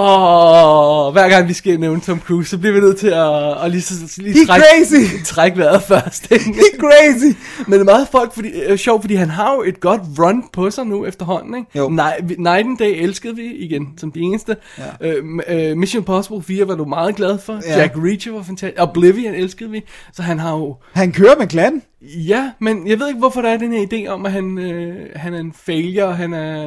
B: åh, hver gang vi skal nævne Tom Cruise, så bliver vi nødt til at, at lige, så- lige
C: He's crazy!
B: trække vejret først. ikke?
C: He's crazy!
B: Men det er meget folk, fordi, øh, sjovt, fordi han har jo et godt run på sig nu efterhånden. Ikke?
C: Jo.
B: Nej, vi- Night and Day elskede vi igen, som de eneste. Ja. Øh, m- øh, Mission Impossible 4 var du meget glad for.
C: Ja.
B: Ja. Jack Reacher var fantastisk. Oblivion elskede vi. Så han har jo...
C: Han kører med klatten.
B: Ja, men jeg ved ikke, hvorfor der er den her idé om, at han, øh, han er en failure, og han er...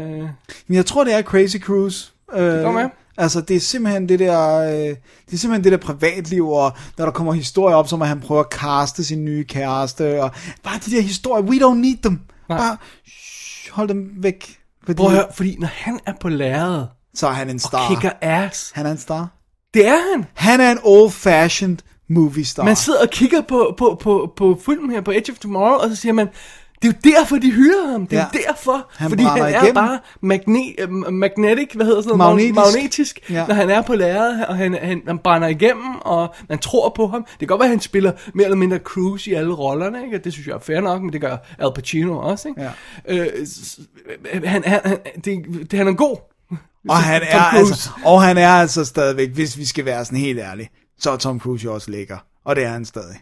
C: Men jeg tror, det er Crazy Cruise. Øh, det
B: kan være.
C: Altså, det er simpelthen det der, øh, det er simpelthen det der privatliv, og når der kommer historier op, som at han prøver at kaste sin nye kæreste, og bare de der historier, we don't need them.
B: Nej.
C: Nej. Bare shh, hold dem væk. Fordi,
B: Prøv at høre, fordi når han er på lærredet
C: Så er han en
B: og
C: star.
B: kicker ass,
C: Han er en star.
B: det er han.
C: Han er en old-fashioned movie star.
B: Man sidder og kigger på, på, på, på filmen her på Edge of Tomorrow, og så siger man, det er jo derfor, de hyrede ham. Det er
C: Ja.
B: ja. derfor.
C: Han
B: fordi han
C: brænder
B: er
C: igennem.
B: bare magne, øh, magnetic, hvad hedder sådan noget?
C: Magnetisk.
B: Mag- Magnetisk.
C: Ja.
B: Ja. Når han er på lærredet, og han, han, han brænder igennem, og man tror på ham. Det kan godt være, at han spiller mere eller mindre cruise i alle rollerne, ikke? Og det synes jeg er fair nok, men det gør Al Pacino også, ikke?
C: Ja.
B: Øh, s- han, han, han, det, det, han er god.
C: og, han
B: Tom
C: er
B: Cruise.
C: altså, og han er altså stadigvæk, hvis vi skal være sådan helt ærlige, så er Tom Cruise jo også lækker. Og det er han stadig.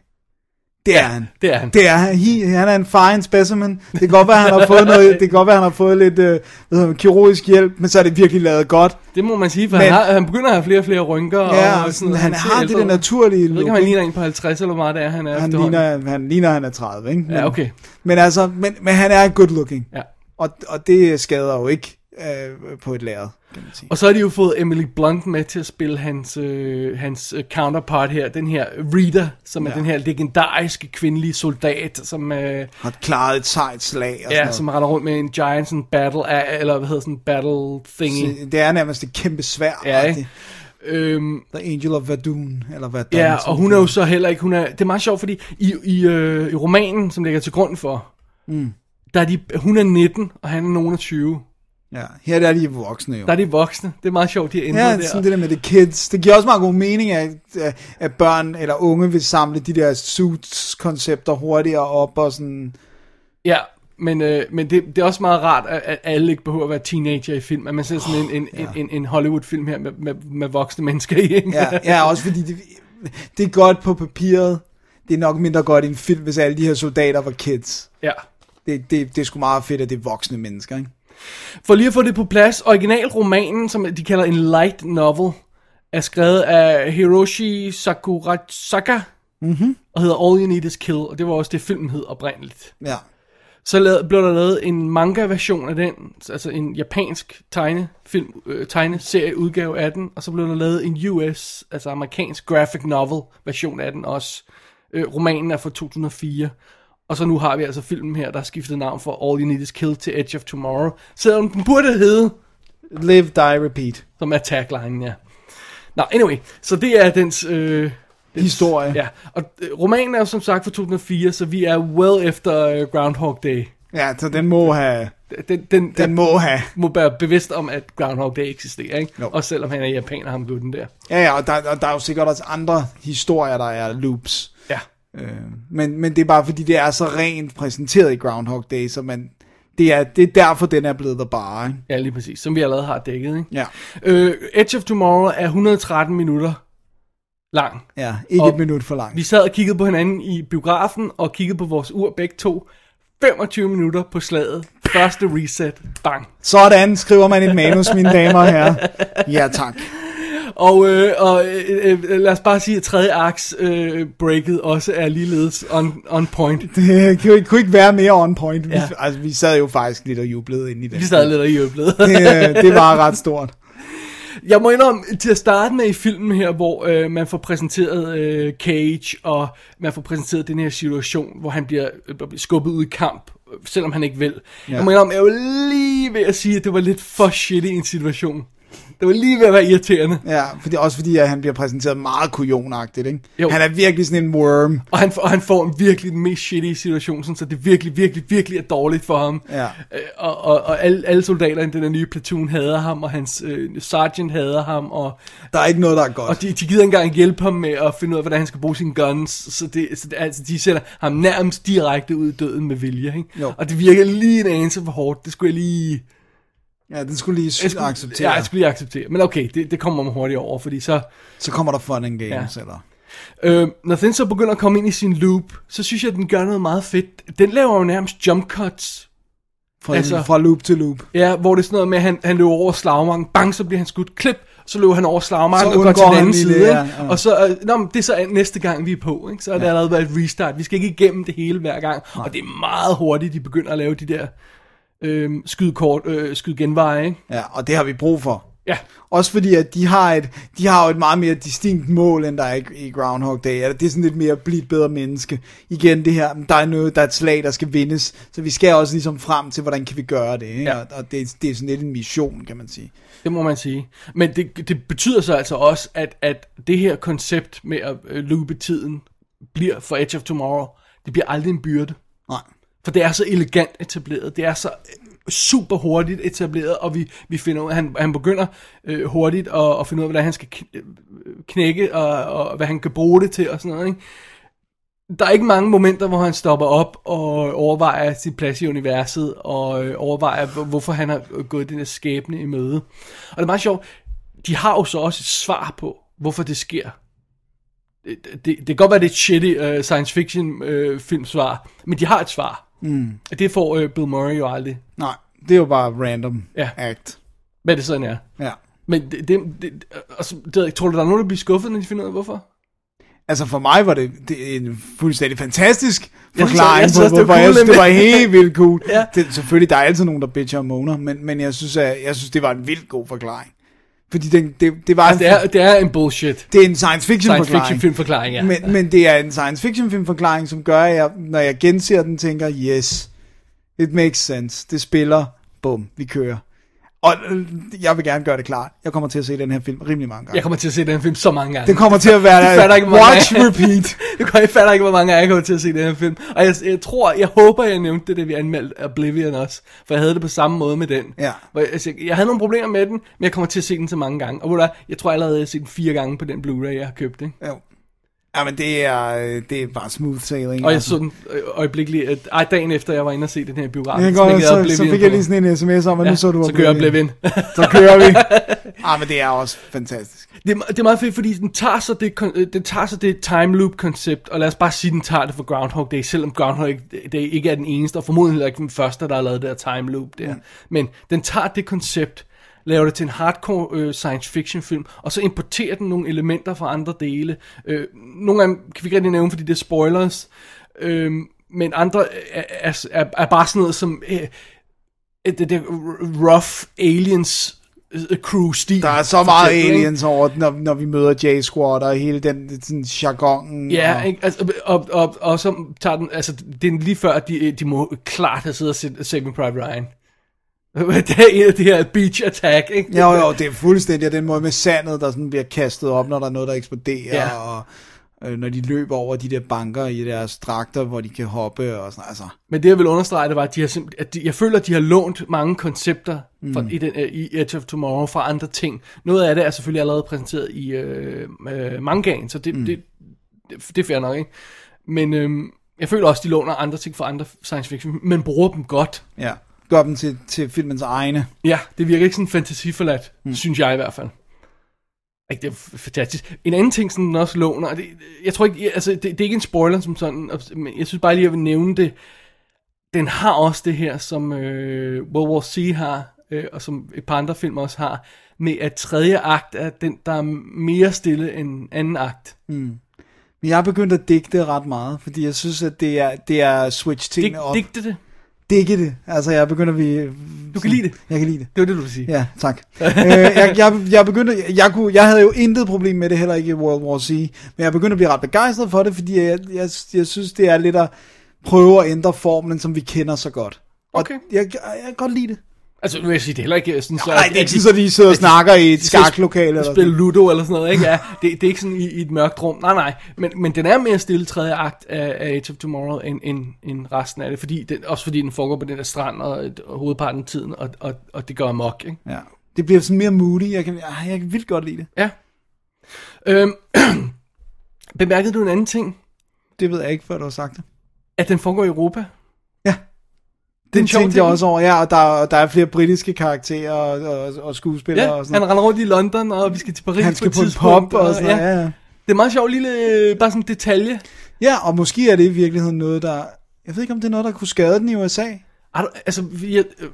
C: Det er han.
B: det er han.
C: Det er han. He, han er en fine specimen. Det kan godt være, han har fået, noget, det kan godt være, han har fået lidt øh, hvad hedder det, kirurgisk hjælp, men så er det virkelig lavet godt.
B: Det må man sige, for
C: Men-
B: men, han, har, han begynder at have flere og flere rynker.
C: Ja,
B: og sådan,
C: sådan, han,
B: ser
C: har det
B: ældre
C: der
B: ud.
C: naturlige
B: Jeg ved
C: look.
B: ikke, om han ligner en på 50 eller hvor meget det er, han er
C: han,
B: efterhånden.
C: ligner, han ligner, han er 30, ikke? Men,
B: Ja, okay.
C: Men, altså, men, men han er good looking.
B: Ja.
C: Og, og det skader jo ikke øh, på et lærred, kan man sige.
B: Og så har de jo fået Emily Blunt med til at spille hans, øh, hans øh, counterpart her, den her Rita, som ja.
C: Ja.
B: er den her legendariske kvindelige soldat, som, øh,
C: Har klaret et sejt slag og
B: ja,
C: sådan
B: som render rundt med en giant sådan battle, a- eller hvad hedder sådan battle thingy.
C: noget. Så Det er nærmest et kæmpe svær.
B: Ja, ikke? Øhm,
C: The Angel of Verdun, eller hvad
B: Ja, og hun er jo så heller ikke, hun er, det er meget sjovt, fordi i, i, øh, i romanen, som ligger til grund for, mm. der er de, hun er 19, og han er nogen 20.
C: Ja, her der er de voksne jo.
B: Der er de voksne, det er meget sjovt, de har ændret
C: Ja,
B: der.
C: sådan det der med the kids. Det giver også meget god mening, at, at børn eller unge vil samle de der suits-koncepter hurtigere op og sådan.
B: Ja, men, øh, men det, det er også meget rart, at, at alle ikke behøver at være teenager i film. At man ser sådan oh, en, en, ja. en, en Hollywood-film her med, med, med voksne mennesker i. ikke?
C: Ja, ja også fordi det, det er godt på papiret. Det er nok mindre godt i en film, hvis alle de her soldater var kids.
B: ja.
C: Det, det, det er sgu meget fedt, at det er voksne mennesker, ikke?
B: For lige at få det på plads, originalromanen, som de kalder en light novel, er skrevet af Hiroshi Sakurasaka, mm-hmm.
C: Mhm.
B: og hedder All You Need Is Kill, og det var også det, filmen hed oprindeligt.
C: Ja.
B: Så lavede, blev der lavet en manga-version af den, altså en japansk tegnefilm, øh, tegneserie udgave af den, og så blev der lavet en US, altså amerikansk graphic novel-version af den også. Øh, romanen er fra 2004, og så nu har vi altså filmen her, der har skiftet navn fra All You Need Is Kill til Edge of Tomorrow, selvom den burde hedde,
C: Live, die, repeat.
B: som er taglinen, ja. Nå, anyway, så det er dens... Øh, dens
C: Historie.
B: Ja, og øh, romanen er jo som sagt fra 2004, så vi er well efter øh, Groundhog Day.
C: Ja, så den må have...
B: Den, den,
C: Den må have.
B: må være bevidst om, at Groundhog Day eksisterer, ikke?
C: Jo.
B: No. Også selvom han er japaner, ham gutten der.
C: Ja, ja, og der, og der er jo sikkert også andre historier, der er loops.
B: Ja.
C: Øh, men, men det er bare fordi, det er så rent præsenteret i Groundhog Day, så man, det, er, det er derfor, den er blevet der bare. Ikke?
B: Ja, lige præcis. Som vi allerede har dækket, ikke?
C: Ja,
B: Øh, Edge of Tomorrow er 113 minutter lang.
C: ja ikke og
B: Og
C: et minut for langt.
B: Vi sad og kiggede på hinanden i biografen, og kiggede på vores ur begge to. 25 minutter på slaget. Første reset. Bang.
C: Sådan skriver man et manus, mine damer og herrer. Ja, tak.
B: Og, øh, og øh, øh, lad os bare sige, at tredje aks øh, breaket også er ligeledes on, on point.
C: Det kunne ikke, kunne ikke være mere on point. Vi,
B: Ja.
C: altså, vi sad jo faktisk lidt og jublede ind i det.
B: Vi sad lidt og jublede.
C: det, det var ret stort.
B: Jeg må indrømme, til at starte med i filmen her, hvor øh, man får præsenteret øh, Cage, og man får præsenteret den her situation, hvor han bliver øh, bliver skubbet ud i kamp, øh, selvom han ikke vil. Ja. Jeg må indrømme, jeg var lige ved at sige, at det var lidt for shitty en situation. Det var lige ved at være irriterende.
C: Ja, fordi, også fordi at han bliver præsenteret meget kujonagtigt, ikke?
B: Jo.
C: Han er virkelig sådan en worm.
B: Og han, og han får en virkelig den mest shitty situation, sådan, så det virkelig, virkelig, virkelig er dårligt for ham.
C: Ja.
B: Øh, og og, og alle, alle soldaterne i den her nye platoon hader ham, og hans øh, sergeant hader ham, og
C: Der er ikke noget, der er godt.
B: Og de, de gider ikke engang hjælpe ham med at finde ud af, hvordan han skal bruge sine guns. Så, det, så det, altså, de sender ham nærmest direkte ud i døden med vilje. Ikke?
C: Jo.
B: Og det virker lige en anelse for hårdt. Det skulle jeg lige...
C: Ja, den skulle lige
B: Jeg
C: s-
B: skulle,
C: acceptere.
B: Ja, jeg skulle lige acceptere. Men okay, det, det kommer man hurtigt over, fordi så...
C: Så kommer der fun and games,
B: Ja.
C: ja. eller...
B: Øh, når den så begynder at komme ind i sin loop, så synes jeg, at den gør noget meget fedt. Den laver jo nærmest jump cuts.
C: Fra,
B: Altså-
C: altså... fra loop til loop.
B: Ja, hvor det er sådan noget med, at han, han løber over slagmarken. Bang, så bliver han skudt. Klip, så løber han over slagmarken
C: Så
B: og går til
C: undgår
B: den
C: han
B: anden
C: lige
B: side.
C: det, ja,
B: ikke?
C: ja.
B: Og så, øh, nå, men det er så øh, næste gang, vi er på. Ikke? Så er der allerede været et restart. Vi skal ikke igennem det hele hver gang. Nej. Og det er meget hurtigt, de begynder at lave de der øh, skydkort, øh, skydgenveje. Ikke?
C: Ja, og det har vi brug for.
B: Ja.
C: Også fordi, at de har, et, de har jo et meget mere distinkt mål, end der er i- i Groundhog Day. Eller Det er sådan lidt mere, blive et bedre menneske. Igen det her, der er noget, der er et slag, der skal vindes. Så vi skal også ligesom frem til, hvordan kan vi gøre det. Ikke?
B: Ja.
C: Ja. Og, og det, det er sådan lidt en mission, kan man sige.
B: Det må man sige. Men det, det betyder så altså også, at, at det her koncept med at øh, loope tiden bliver for Edge of Tomorrow, det bliver aldrig en byrde.
C: Nej.
B: For det er så elegant etableret, det er så øh, super hurtigt etableret, og vi, vi finder ud, han, han begynder øh, hurtigt at, at finde ud af, hvordan han skal kn- øh, knække, og, og hvad han kan bruge det til, og sådan noget, ikke? Der er ikke mange momenter, hvor han stopper op og overvejer sin plads i universet, og øh, overvejer, hvor- hvorfor han har gået den her skæbne i møde. Og det er meget sjovt, de har jo så også et svar på, hvorfor det sker det, det kan godt være, det er et shitty uh, science fiction uh, filmsvar, men de har et svar. Mm. Det får uh, Bill Murray jo aldrig,
C: Nej, det er jo bare random
B: Ja.
C: ja. act.
B: hvad det sådan er.
C: Ja.
B: Men det, det, det, og så, det ved jeg ikke, tror du, der er nogen, der bliver skuffet, når de finder ud af, hvorfor?
C: Altså for mig var det, det er en fuldstændig fantastisk
B: synes-
C: forklaring
B: jeg
C: jeg
B: synes også,
C: synes,
B: det var
C: på, hvorfor
B: cool,
C: jeg synes, det var
B: nemlig.
C: helt vildt cool.
B: Ja.
C: ja. det, selvfølgelig, der er altid nogen, der bitcher og moaner, men, men jeg, synes, at, jeg synes, det var en vildt god forklaring. Fordi den, det, det var
B: Altså, det er, det er en bullshit
C: det er en science fiction
B: science
C: forklaring.
B: fiction filmforklaring, ja.
C: Men, men det er en science fiction film forklaring, som gør, at jeg, når jeg genser den, tænker, yes, it makes sense, det spiller, bum, vi kører. Og øh, jeg vil gerne gøre det klart, jeg kommer til at se den her film rimelig mange gange.
B: Jeg kommer til at se den her film så mange gange.
C: Den kommer til at være
B: Jeg fatter ikke, hvor mange
C: watch
B: gange-
C: repeat.
B: Jeg kan- jeg fatter ikke, hvor mange gange jeg kommer til at se den her film. Og jeg, jeg tror, jeg håber, jeg nævnte det, da vi anmeldte Oblivion også. For jeg havde det på samme måde med den.
C: Ja.
B: Hvor jeg, altså, jeg havde nogle problemer med den, men jeg kommer til at se den så mange gange. Og ved du hvad, jeg tror allerede, jeg har set den fire gange på den Blu-ray, jeg har købt. Ikke?
C: Jo. Ja, men det er, øh, det er bare smooth sailing.
B: Og jeg
C: altså.
B: så den øh, øjeblikkeligt, at ej, dagen efter jeg var inde og se den her biograf.
C: jeg går, så, så fik jeg lige sådan en sms om, at
B: ja,
C: nu så du
B: så kører jeg Oblivion.
C: Så kører vi. Ah, men det er også fantastisk.
B: det, er, det er meget fedt, fordi den tager så det, kon- øh, den tager så det time loop koncept, og lad os bare sige, den tager det for Groundhog Day, selvom Groundhog Day ikke er den eneste, og formodentlig heller ikke den første, der har lavet det her time loop der. Mm. Men den tager det koncept, laver det til en hardcore øh, science fiction film, og så importerer den nogle elementer fra andre dele. Øh, nogle af dem kan vi ikke rigtig nævne, fordi det er spoilers, øh, men andre er, er, er, er bare sådan noget som... Øh, det, det rough aliens øh, crew-stil.
C: Der er så meget
B: eksempel, ikke?
C: aliens over, den, når, når vi møder J-Squad og hele den sådan, jargonen.
B: Ja,
C: og,
B: ikke? Altså, og, og, og så tager den, altså, det er lige før, at de, de må klart have siddet og set Saving Private Ryan. det er en af de her beach attack, ikke?
C: Jo, jo, det er fuldstændig og den måde med sandet, der sådan bliver kastet op, når der er noget, der eksploderer,
B: Ja.
C: ja. og øh, når de løber over de der banker i deres dragter, hvor de kan hoppe og sådan, altså.
B: Men det, jeg vil understrege, det var, at, de har simp- at de, jeg føler, at de har lånt mange koncepter fra, mm. i, den, øh, i Edge of Tomorrow fra andre ting. Noget af det er selvfølgelig allerede præsenteret i øh, øh, mangaen, så det, mm. det, det, det er fair nok, ikke? Men øh, jeg føler også, de låner andre ting fra andre science fiction, men bruger dem godt.
C: Ja, gør dem til, til filmens egne.
B: Ja, det virker ikke sådan fantasiforladt, mm. synes jeg i hvert fald. Ikke, det er f- fantastisk. En anden ting, som den også låner, og det, jeg tror ikke, altså, det, det er ikke en spoiler som sådan, og- men jeg synes bare lige, jeg vil nævne det. Den har også det her, som øh, World War C har, øh, og som et par andre film også har, med at tredje akt er den, der er mere stille end anden akt.
C: Men jeg er begyndt at digte ret meget, fordi jeg synes, at det er, det er switch
B: Dig,
C: tingene op. Dig.
B: digte det.
C: Digge det. Altså, jeg er begyndt at blive...
B: Du kan lide det.
C: Jeg kan lide det.
B: Det var det, du ville sige.
C: Ja, tak. øh, jeg, jeg, jeg, begyndte, jeg, kunne, jeg havde jo intet problem med det, heller ikke i World War Z, men jeg begyndte at blive ret begejstret for det, fordi jeg, jeg, jeg synes, det er lidt at prøve at ændre formlen, som vi kender så godt. Og
B: Okay.
C: Jeg, jeg kan godt lide det.
B: Altså, nu vil jeg sige, det er heller ikke sådan, så...
C: Nej,
B: at-
C: det er
B: at
C: ikke
B: de-
C: sådan, at de sidder og snakker i et
B: sidder og
C: skaklokale. Eller
B: spille
C: sådan.
B: Ludo eller sådan noget, ikke? Ja, det, det er ikke sådan i, i et mørkt rum. Nej, nej. Men, men den er mere stille tredje akt af, af Age of Tomorrow end, end, end resten af det. Fordi den, også fordi den foregår på den der strand og, og hovedparten af tiden, og, og, og det gør mok, ikke?
C: Ja. Det bliver sådan mere moody. Jeg kan, ah, jeg kan vildt godt lide det.
B: Ja. Øhm, bemærkede du en anden ting?
C: Det ved jeg ikke, før du har sagt det.
B: At den foregår i Europa?
C: Ja.
B: er en
C: Den
B: sjov
C: tænkte jeg
B: ting.
C: også over, ja, og der, og der er flere britiske karakterer og, og, og skuespillere
B: Ja,
C: og sådan
B: han
C: noget.
B: render rundt i London, og vi skal til Paris
C: Han skal
B: et
C: på en
B: tidspunkt,
C: pop og sådan noget. Ja. Ja,
B: Det er meget sjovt lille, øh, bare sådan en detalje.
C: ja, og måske er det i virkeligheden noget, der... Jeg ved ikke, om det er noget, der kunne skade den i USA.
B: Er du, altså, vi er, øh,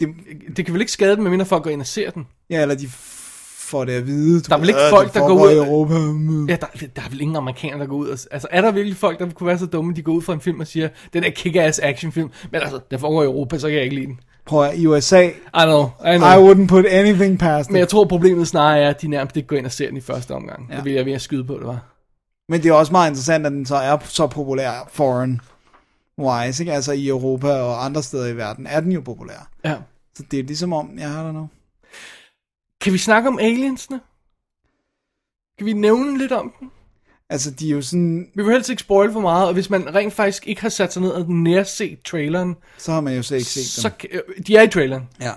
B: det, det kan vel ikke skade den, medmindre folk går ind og ser den.
C: Ja, eller de f- får det at vide. Du
B: Der er vel
C: ved,
B: ikke
C: "Øh,
B: folk,
C: det
B: der går
C: foregår
B: ud-
C: i Europa. Mm.
B: Ja, der, der er vel ingen amerikanere, der går ud og... Altså, er der virkelig folk, der kunne være så dumme, de går ud fra en film og siger, den der kick-ass actionfilm, men altså, den foregår i Europa, så kan jeg ikke lide den.
C: Prøv at i USA,
B: I know, I
C: I
B: know.
C: wouldn't put anything past
B: Men
C: it.
B: jeg tror, problemet snarere er, at de nærmest ikke går ind og ser den i første omgang. Ja.
C: Ja.
B: Det vil jeg ved at skyde på, det var.
C: Men det er også meget interessant, at den så er så populær foreign wise, ikke? Altså i Europa og andre steder i verden er den jo populær.
B: Ja.
C: Så det er ligesom om, jeg har der nu.
B: Kan vi snakke om aliensene? Kan vi nævne lidt om dem?
C: Altså, de er jo sådan,
B: Vi vil helst ikke spoil for meget, og hvis man rent faktisk ikke har sat sig ned og nærset traileren,
C: så har man jo slet ikke set
B: så...
C: dem.
B: kan- øh, De er i traileren.
C: Ja.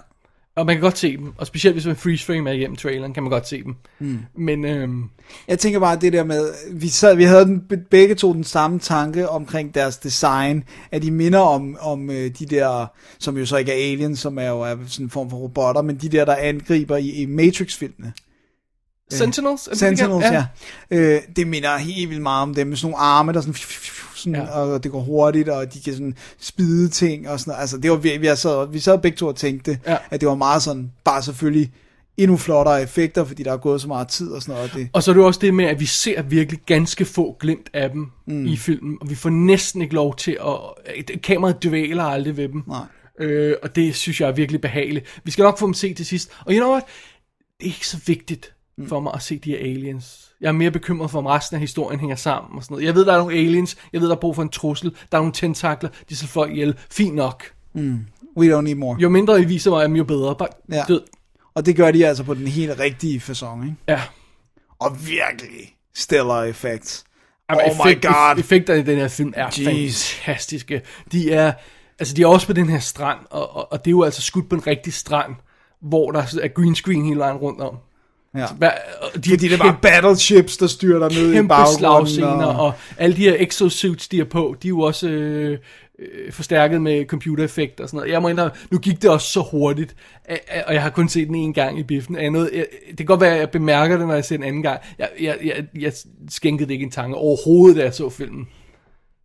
B: Og man kan godt se dem, og specielt hvis man freeze frame er igennem traileren, kan man godt se dem. Mm. Men øhm,
C: Jeg tænker bare det der med, vi, sad, vi havde den, begge to den samme tanke omkring deres design, at de minder om, om øh, de der, som jo så ikke er aliens, som er jo er sådan en form for robotter, men de der, der angriber i, i Matrix-filmene.
B: Øh, Sentinels? er det, de
C: Sentinels,
B: kalder-
C: ja. ja. Øh, det minder helt vildt meget om dem, med sådan nogle arme, der sådan, sådan
B: Ja.
C: ja. og det går hurtigt, og de kan sådan spide ting og sådan noget. Altså, det var, vi, vi, sad, vi sad begge to og tænkte,
B: Ja.
C: ja. at det var meget sådan, bare selvfølgelig endnu flottere effekter, fordi der er gået så meget tid og sådan noget. Og det,
B: Og så er det jo også det med, at vi ser virkelig ganske få glimt af dem mm. i filmen, og vi får næsten ikke lov til at... et- Kameraet dvæler aldrig ved dem.
C: Nej.
B: Øh, og det synes jeg er virkelig behageligt. Vi skal nok få dem set til sidst. Og you know what? Det er ikke så vigtigt
C: Mm.
B: for mig at se de her aliens. Jeg er mere bekymret for, om resten af historien hænger sammen og sådan noget. Jeg ved, der er nogle aliens. Jeg ved, der er brug for en trussel. Der er nogle tentakler. De slår folk ihjel. Fint nok.
C: we don't need more.
B: Jo mindre I viser mig, af dem, jo bedre. Bare,
C: Ja.
B: du ved,
C: Og det gør de altså på den helt rigtige façon, ikke?
B: ja.
C: Og virkelig stellar effects.
B: Jamen,
C: Oh my God.
B: Effekterne i den her film er
C: Jeez.
B: fantastiske. De er, altså de er også på den her strand, og, og, og det er jo altså skudt på en rigtig strand, hvor der er green screen hele vejen rundt om.
C: Ja.
B: Hva, og de
C: Fordi det
B: er
C: er bare battleships, der styrter ned i
B: kæmpe
C: baggrunden.
B: slagscener, og... og alle de her exosuits, de er på, de er jo også øh, øh, forstærket med computereffekter og sådan noget. Jeg må indrømme, nu gik det også så hurtigt, a- a- og jeg har kun set den en gang i biffen. Jeg nåede, jeg, det kan godt være, at jeg bemærker det, når jeg ser den anden gang. Jeg, jeg, jeg, jeg skænkede det ikke en tanke overhovedet, da jeg så filmen.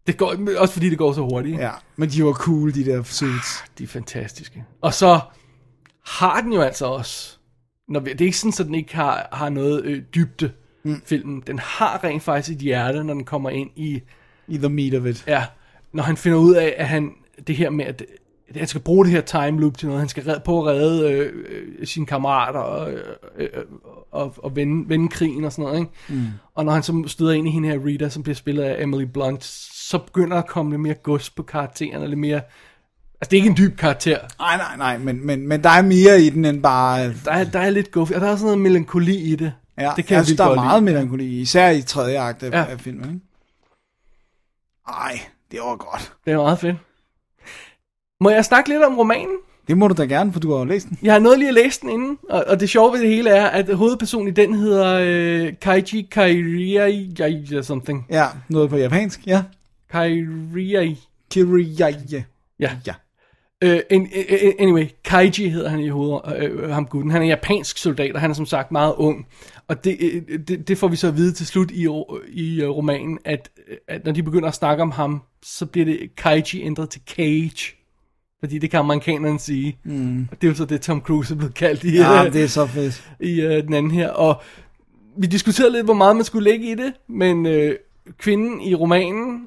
B: Det går, også fordi det går så hurtigt. ikke?
C: Ja, men de var cool, de der suits.
B: De er fantastiske. Og så har den jo altså også... Når vi, det er ikke sådan, at den ikke har, har noget øh, dybde, mm. filmen. Den har rent faktisk et hjerte, når den kommer ind i...
C: I the meat of it.
B: Ja, når han finder ud af, at han... Det her med, at, at han skal bruge det her time loop til noget. Han skal red, på at redde øh, øh, sine kammerater og, øh, øh, og, og vende, vende krigen og sådan noget. Ikke? Mm. Og når han så støder ind i hende her Rita, som bliver spillet af Emily Blunt, så begynder der at komme lidt mere gods på karakteren, og lidt mere... Altså, det er ikke en dyb karakter.
C: Nej, nej, nej, men, men, men der er mere i den end bare...
B: Der er, der er lidt guf, og der er sådan noget melankoli i det.
C: Ja,
B: det kan
C: altså,
B: jeg
C: der er
B: godt
C: meget melankoli, i, især i tredje akt af,
B: Ja.
C: ja. af filmen. Ikke? Ej, det var godt.
B: lide. Det er meget fedt. Må jeg snakke lidt om romanen?
C: Det må du da gerne, for du har jo læst den.
B: Jeg har nået lige at læse den inden, og, og det sjove ved det hele er, at hovedpersonen i den hedder øh, Kaiji Kairiai eller something.
C: Ja, noget på japansk. Ja,
B: Kairiai.
C: Kiriyaye.
B: Ja.
C: Ja.
B: Øh, en- en- anyway, Kaiji hedder han i hovedet, øh, ham gutten. Han er japansk soldat, og han er som sagt meget ung. Og det, øh, det, det får vi så at vide til slut i, ro- i øh, romanen, øh, at, at når de begynder at snakke om ham, så bliver det Kaiji ændret til Cage. Fordi det kan amerikanerne sige. Mm. Og det er jo så det, Tom Cruise er blevet kaldt i,
C: Ja,
B: øh,
C: det er så fedt.
B: i øh, den anden her. Og vi diskuterede lidt, hvor meget man skulle lægge i det, men øh, kvinden i romanen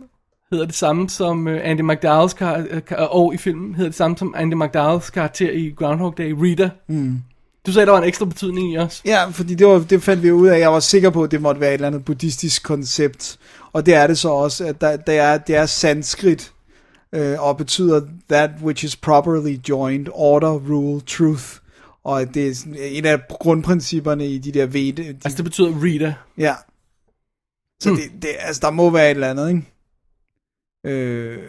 B: hedder det samme som øh, Andy McDowell's kar- øh, kar- og i filmen hedder det samme som Andy McDowell's karakter i Groundhog Day, Rita. Mm. Du sagde, der var en ekstra betydning i os.
C: Ja, fordi det, var, det fandt vi ud af. Jeg var sikker på, at det måtte være et eller andet buddhistisk koncept. Og det er det så også, at der, der er, det er sanskrit, øh, og betyder that which is properly joined, order, rule, truth. Og at det er sådan en af grundprincipperne i de der vede. De,
B: Altså, det betyder Rita.
C: ja. Så
B: Hmm.
C: det, det, altså, der må være et eller andet, ikke? Øh,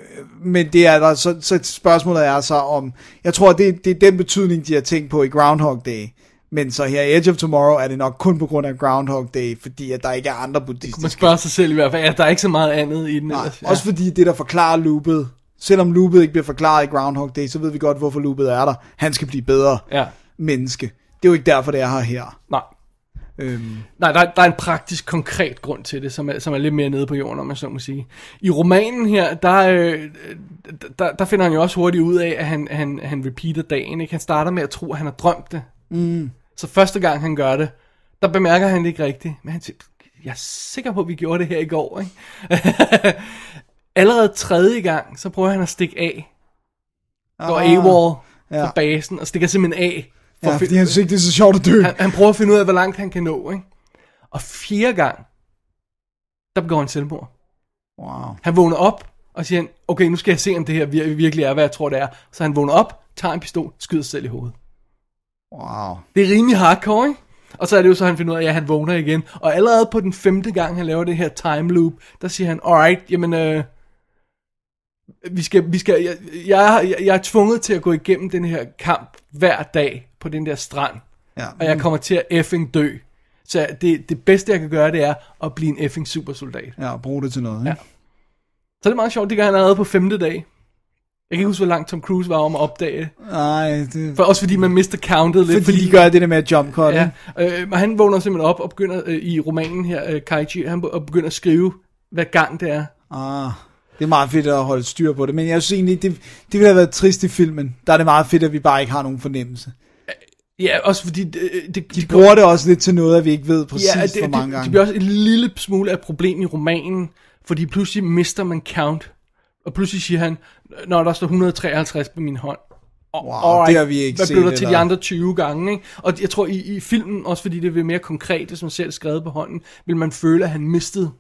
C: men det er der, så, så spørgsmålet er så om, jeg tror, det, det er den betydning, de har tænkt på i Groundhog Day. Men så her i Edge of Tomorrow er det nok kun på grund af Groundhog Day, fordi at der ikke er andre
B: Man
C: buddhistiske.
B: spørger sig selv i hvert fald, ja, der er ikke så meget andet i den.
C: Nej,
B: ellers.
C: ja. Også fordi det, der forklarer loopet, selvom loopet ikke bliver forklaret i Groundhog Day, så ved vi godt, hvorfor loopet er der. Han skal blive bedre
B: Ja,
C: menneske. Det er jo ikke derfor, det er her her.
B: nej.
C: Øhm,
B: Nej, der, der er en praktisk, konkret grund til det, som er, som er lidt mere nede på jorden, om man så må sige. I romanen her, der, øh, der, der finder han jo også hurtigt ud af, at han, han, han repeater dagen. Ikke? Han starter med at tro, at han har drømt det. Mm. Så første gang han gør det, der bemærker han det ikke rigtigt. Men han siger, jeg er sikker på, at vi gjorde det her i går. Ikke? Allerede tredje gang, så prøver han at stikke af. Går
C: Ah,
B: AWOL
C: ja.
B: fra basen, og stikker simpelthen af. for
C: ja,
B: at
C: fordi
B: fi-
C: han synes ikke, det er så sjovt at dø.
B: han, han prøver at finde ud af, hvor langt han kan nå, ikke? Og fjerde gang, der begår han selvmord.
C: Wow.
B: Han vågner op og siger, okay, nu skal jeg se, om det her vir- virkelig er, hvad jeg tror, det er. Så han vågner op, tager en pistol, skyder sig selv i hovedet.
C: Wow.
B: Det er rimelig hardcore, ikke? Og så er det jo så, han finder ud af, at ja, han vågner igen. Og allerede på den femte gang, han laver det her time loop, der siger han, alright, jamen, øh, vi skal, vi skal, jeg, jeg, jeg, jeg er tvunget til at gå igennem den her kamp hver dag på den der strand
C: Ja.
B: og jeg kommer til at effing dø. Så det, det bedste, jeg kan gøre, det er at blive en effing supersoldat.
C: Ja, og bruge det til noget. Ikke?
B: Ja. Så det er meget sjovt, det gør han allerede på femte dag. Jeg kan ikke huske, hvor langt Tom Cruise var om at opdage det.
C: Nej, det...
B: For, også fordi man mister countet lidt.
C: Fordi, fordi de gør det der med at jump cut.
B: Ja,
C: Ja.
B: øh, og han vågner simpelthen op og begynder øh, i romanen her, øh, Kaiji, han be- og begynder at skrive, hvad gang det er.
C: Ah, det er meget fedt at holde styr på det, men jeg synes egentlig, det, det ville have været trist i filmen. Der er det meget fedt, at vi bare ikke har nogen fornemmelse.
B: Ja, også fordi... Øh, det,
C: De bruger det også lidt til noget, at vi ikke ved præcis,
B: ja, det,
C: hvor mange
B: det,
C: gange.
B: det bliver også en lille smule af et problem i romanen, fordi pludselig mister man count, og pludselig siger han, når der står 153 på min hånd. Og,
C: Wow,
B: alright,
C: det har vi ikke
B: Hvad
C: set,
B: blev der til de
C: eller-
B: andre 20 gange? Ikke? Og jeg tror, i, i filmen, også fordi det er mere konkret, det som selv er skrevet på hånden, vil man føle, at han mistede,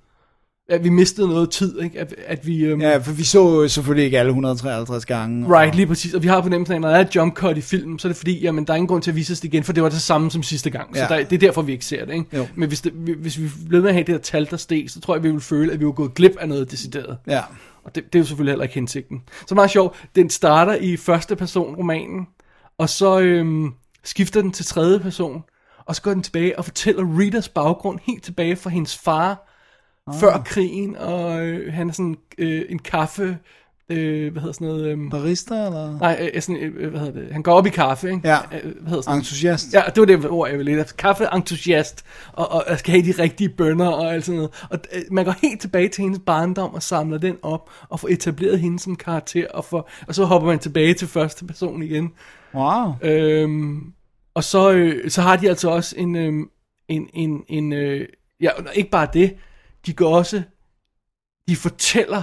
B: at vi mistede noget tid, ikke? At, at vi... Øhm,
C: Ja, for vi så jo selvfølgelig ikke alle 153 gange. og-
B: Right, lige præcis. Og vi har på nemmelsen, at når der er et jump cut i filmen, så er det fordi, jamen, der er ingen grund til at vise os det igen, for det var det samme som sidste gang. Så
C: Ja.
B: der, det er derfor, vi ikke ser det. Ikke?
C: Jo.
B: Men hvis, det, hvis vi blev med at have det her tal, der steg, så tror jeg, vi ville føle, at vi var gået glip af noget decideret.
C: Ja.
B: Og det, det er jo selvfølgelig heller ikke hensigten. Så meget sjovt, den starter i første person romanen, og så øhm, skifter den til tredje person, og så går den tilbage og fortæller Ritas baggrund helt tilbage fra hendes far, ah. før krigen, og øh, han er sådan øh, en kaffe, øh, hvad hedder sådan noget... Øhm,
C: Barista eller
B: Nej, øh, sådan, øh, øh, hvad hedder det? Han går op i kaffe, ikke?
C: Ja.
B: Øh, Hvad hedder sådan?
C: entusiast?
B: Ja, det var det ord, jeg ville lide. efter. Kaffeentusiast, og, og, og skal have de rigtige bønder og alt sådan noget. Og øh, man går helt tilbage til hendes barndom og samler den op, og får etableret hende som karakter, og, får, og så hopper man tilbage til første person igen.
C: Wow.
B: Øhm, og så, øh, så har de altså også en, øh, en, en, en øh, ja, og ikke bare det, de går også, de fortæller,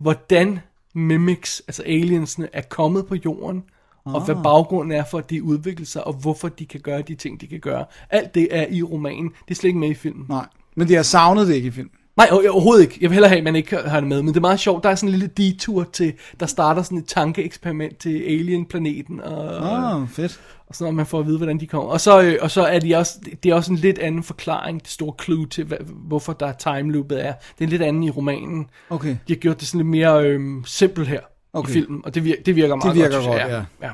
B: hvordan mimics, altså aliensene, er kommet på jorden, og hvad baggrunden er for, at de udvikler sig, og hvorfor de kan gøre de ting, de kan gøre. Alt det er i romanen, det er slet ikke med i filmen.
C: Nej, men de har savnet det ikke i filmen.
B: Nej, o- overhovedet ikke. Jeg vil hellere have, at man ikke har det med. Men det er meget sjovt. Der er sådan en lille detur til, der starter sådan et tankeeksperiment til alien-planeten. Og, og,
C: Ah, fedt.
B: og sådan, at man får at vide, hvordan de kommer. Og så, øh, og så er de også, det er også en lidt anden forklaring, det store clue til, hvad, hvorfor der er time loopet er. Det er en lidt anden i romanen.
C: Okay.
B: De har gjort det sådan lidt mere øh, simpelt her okay.
C: Okay.
B: i filmen, og det virker, det virker meget
C: virker
B: godt, synes jeg.
C: godt,
B: ja.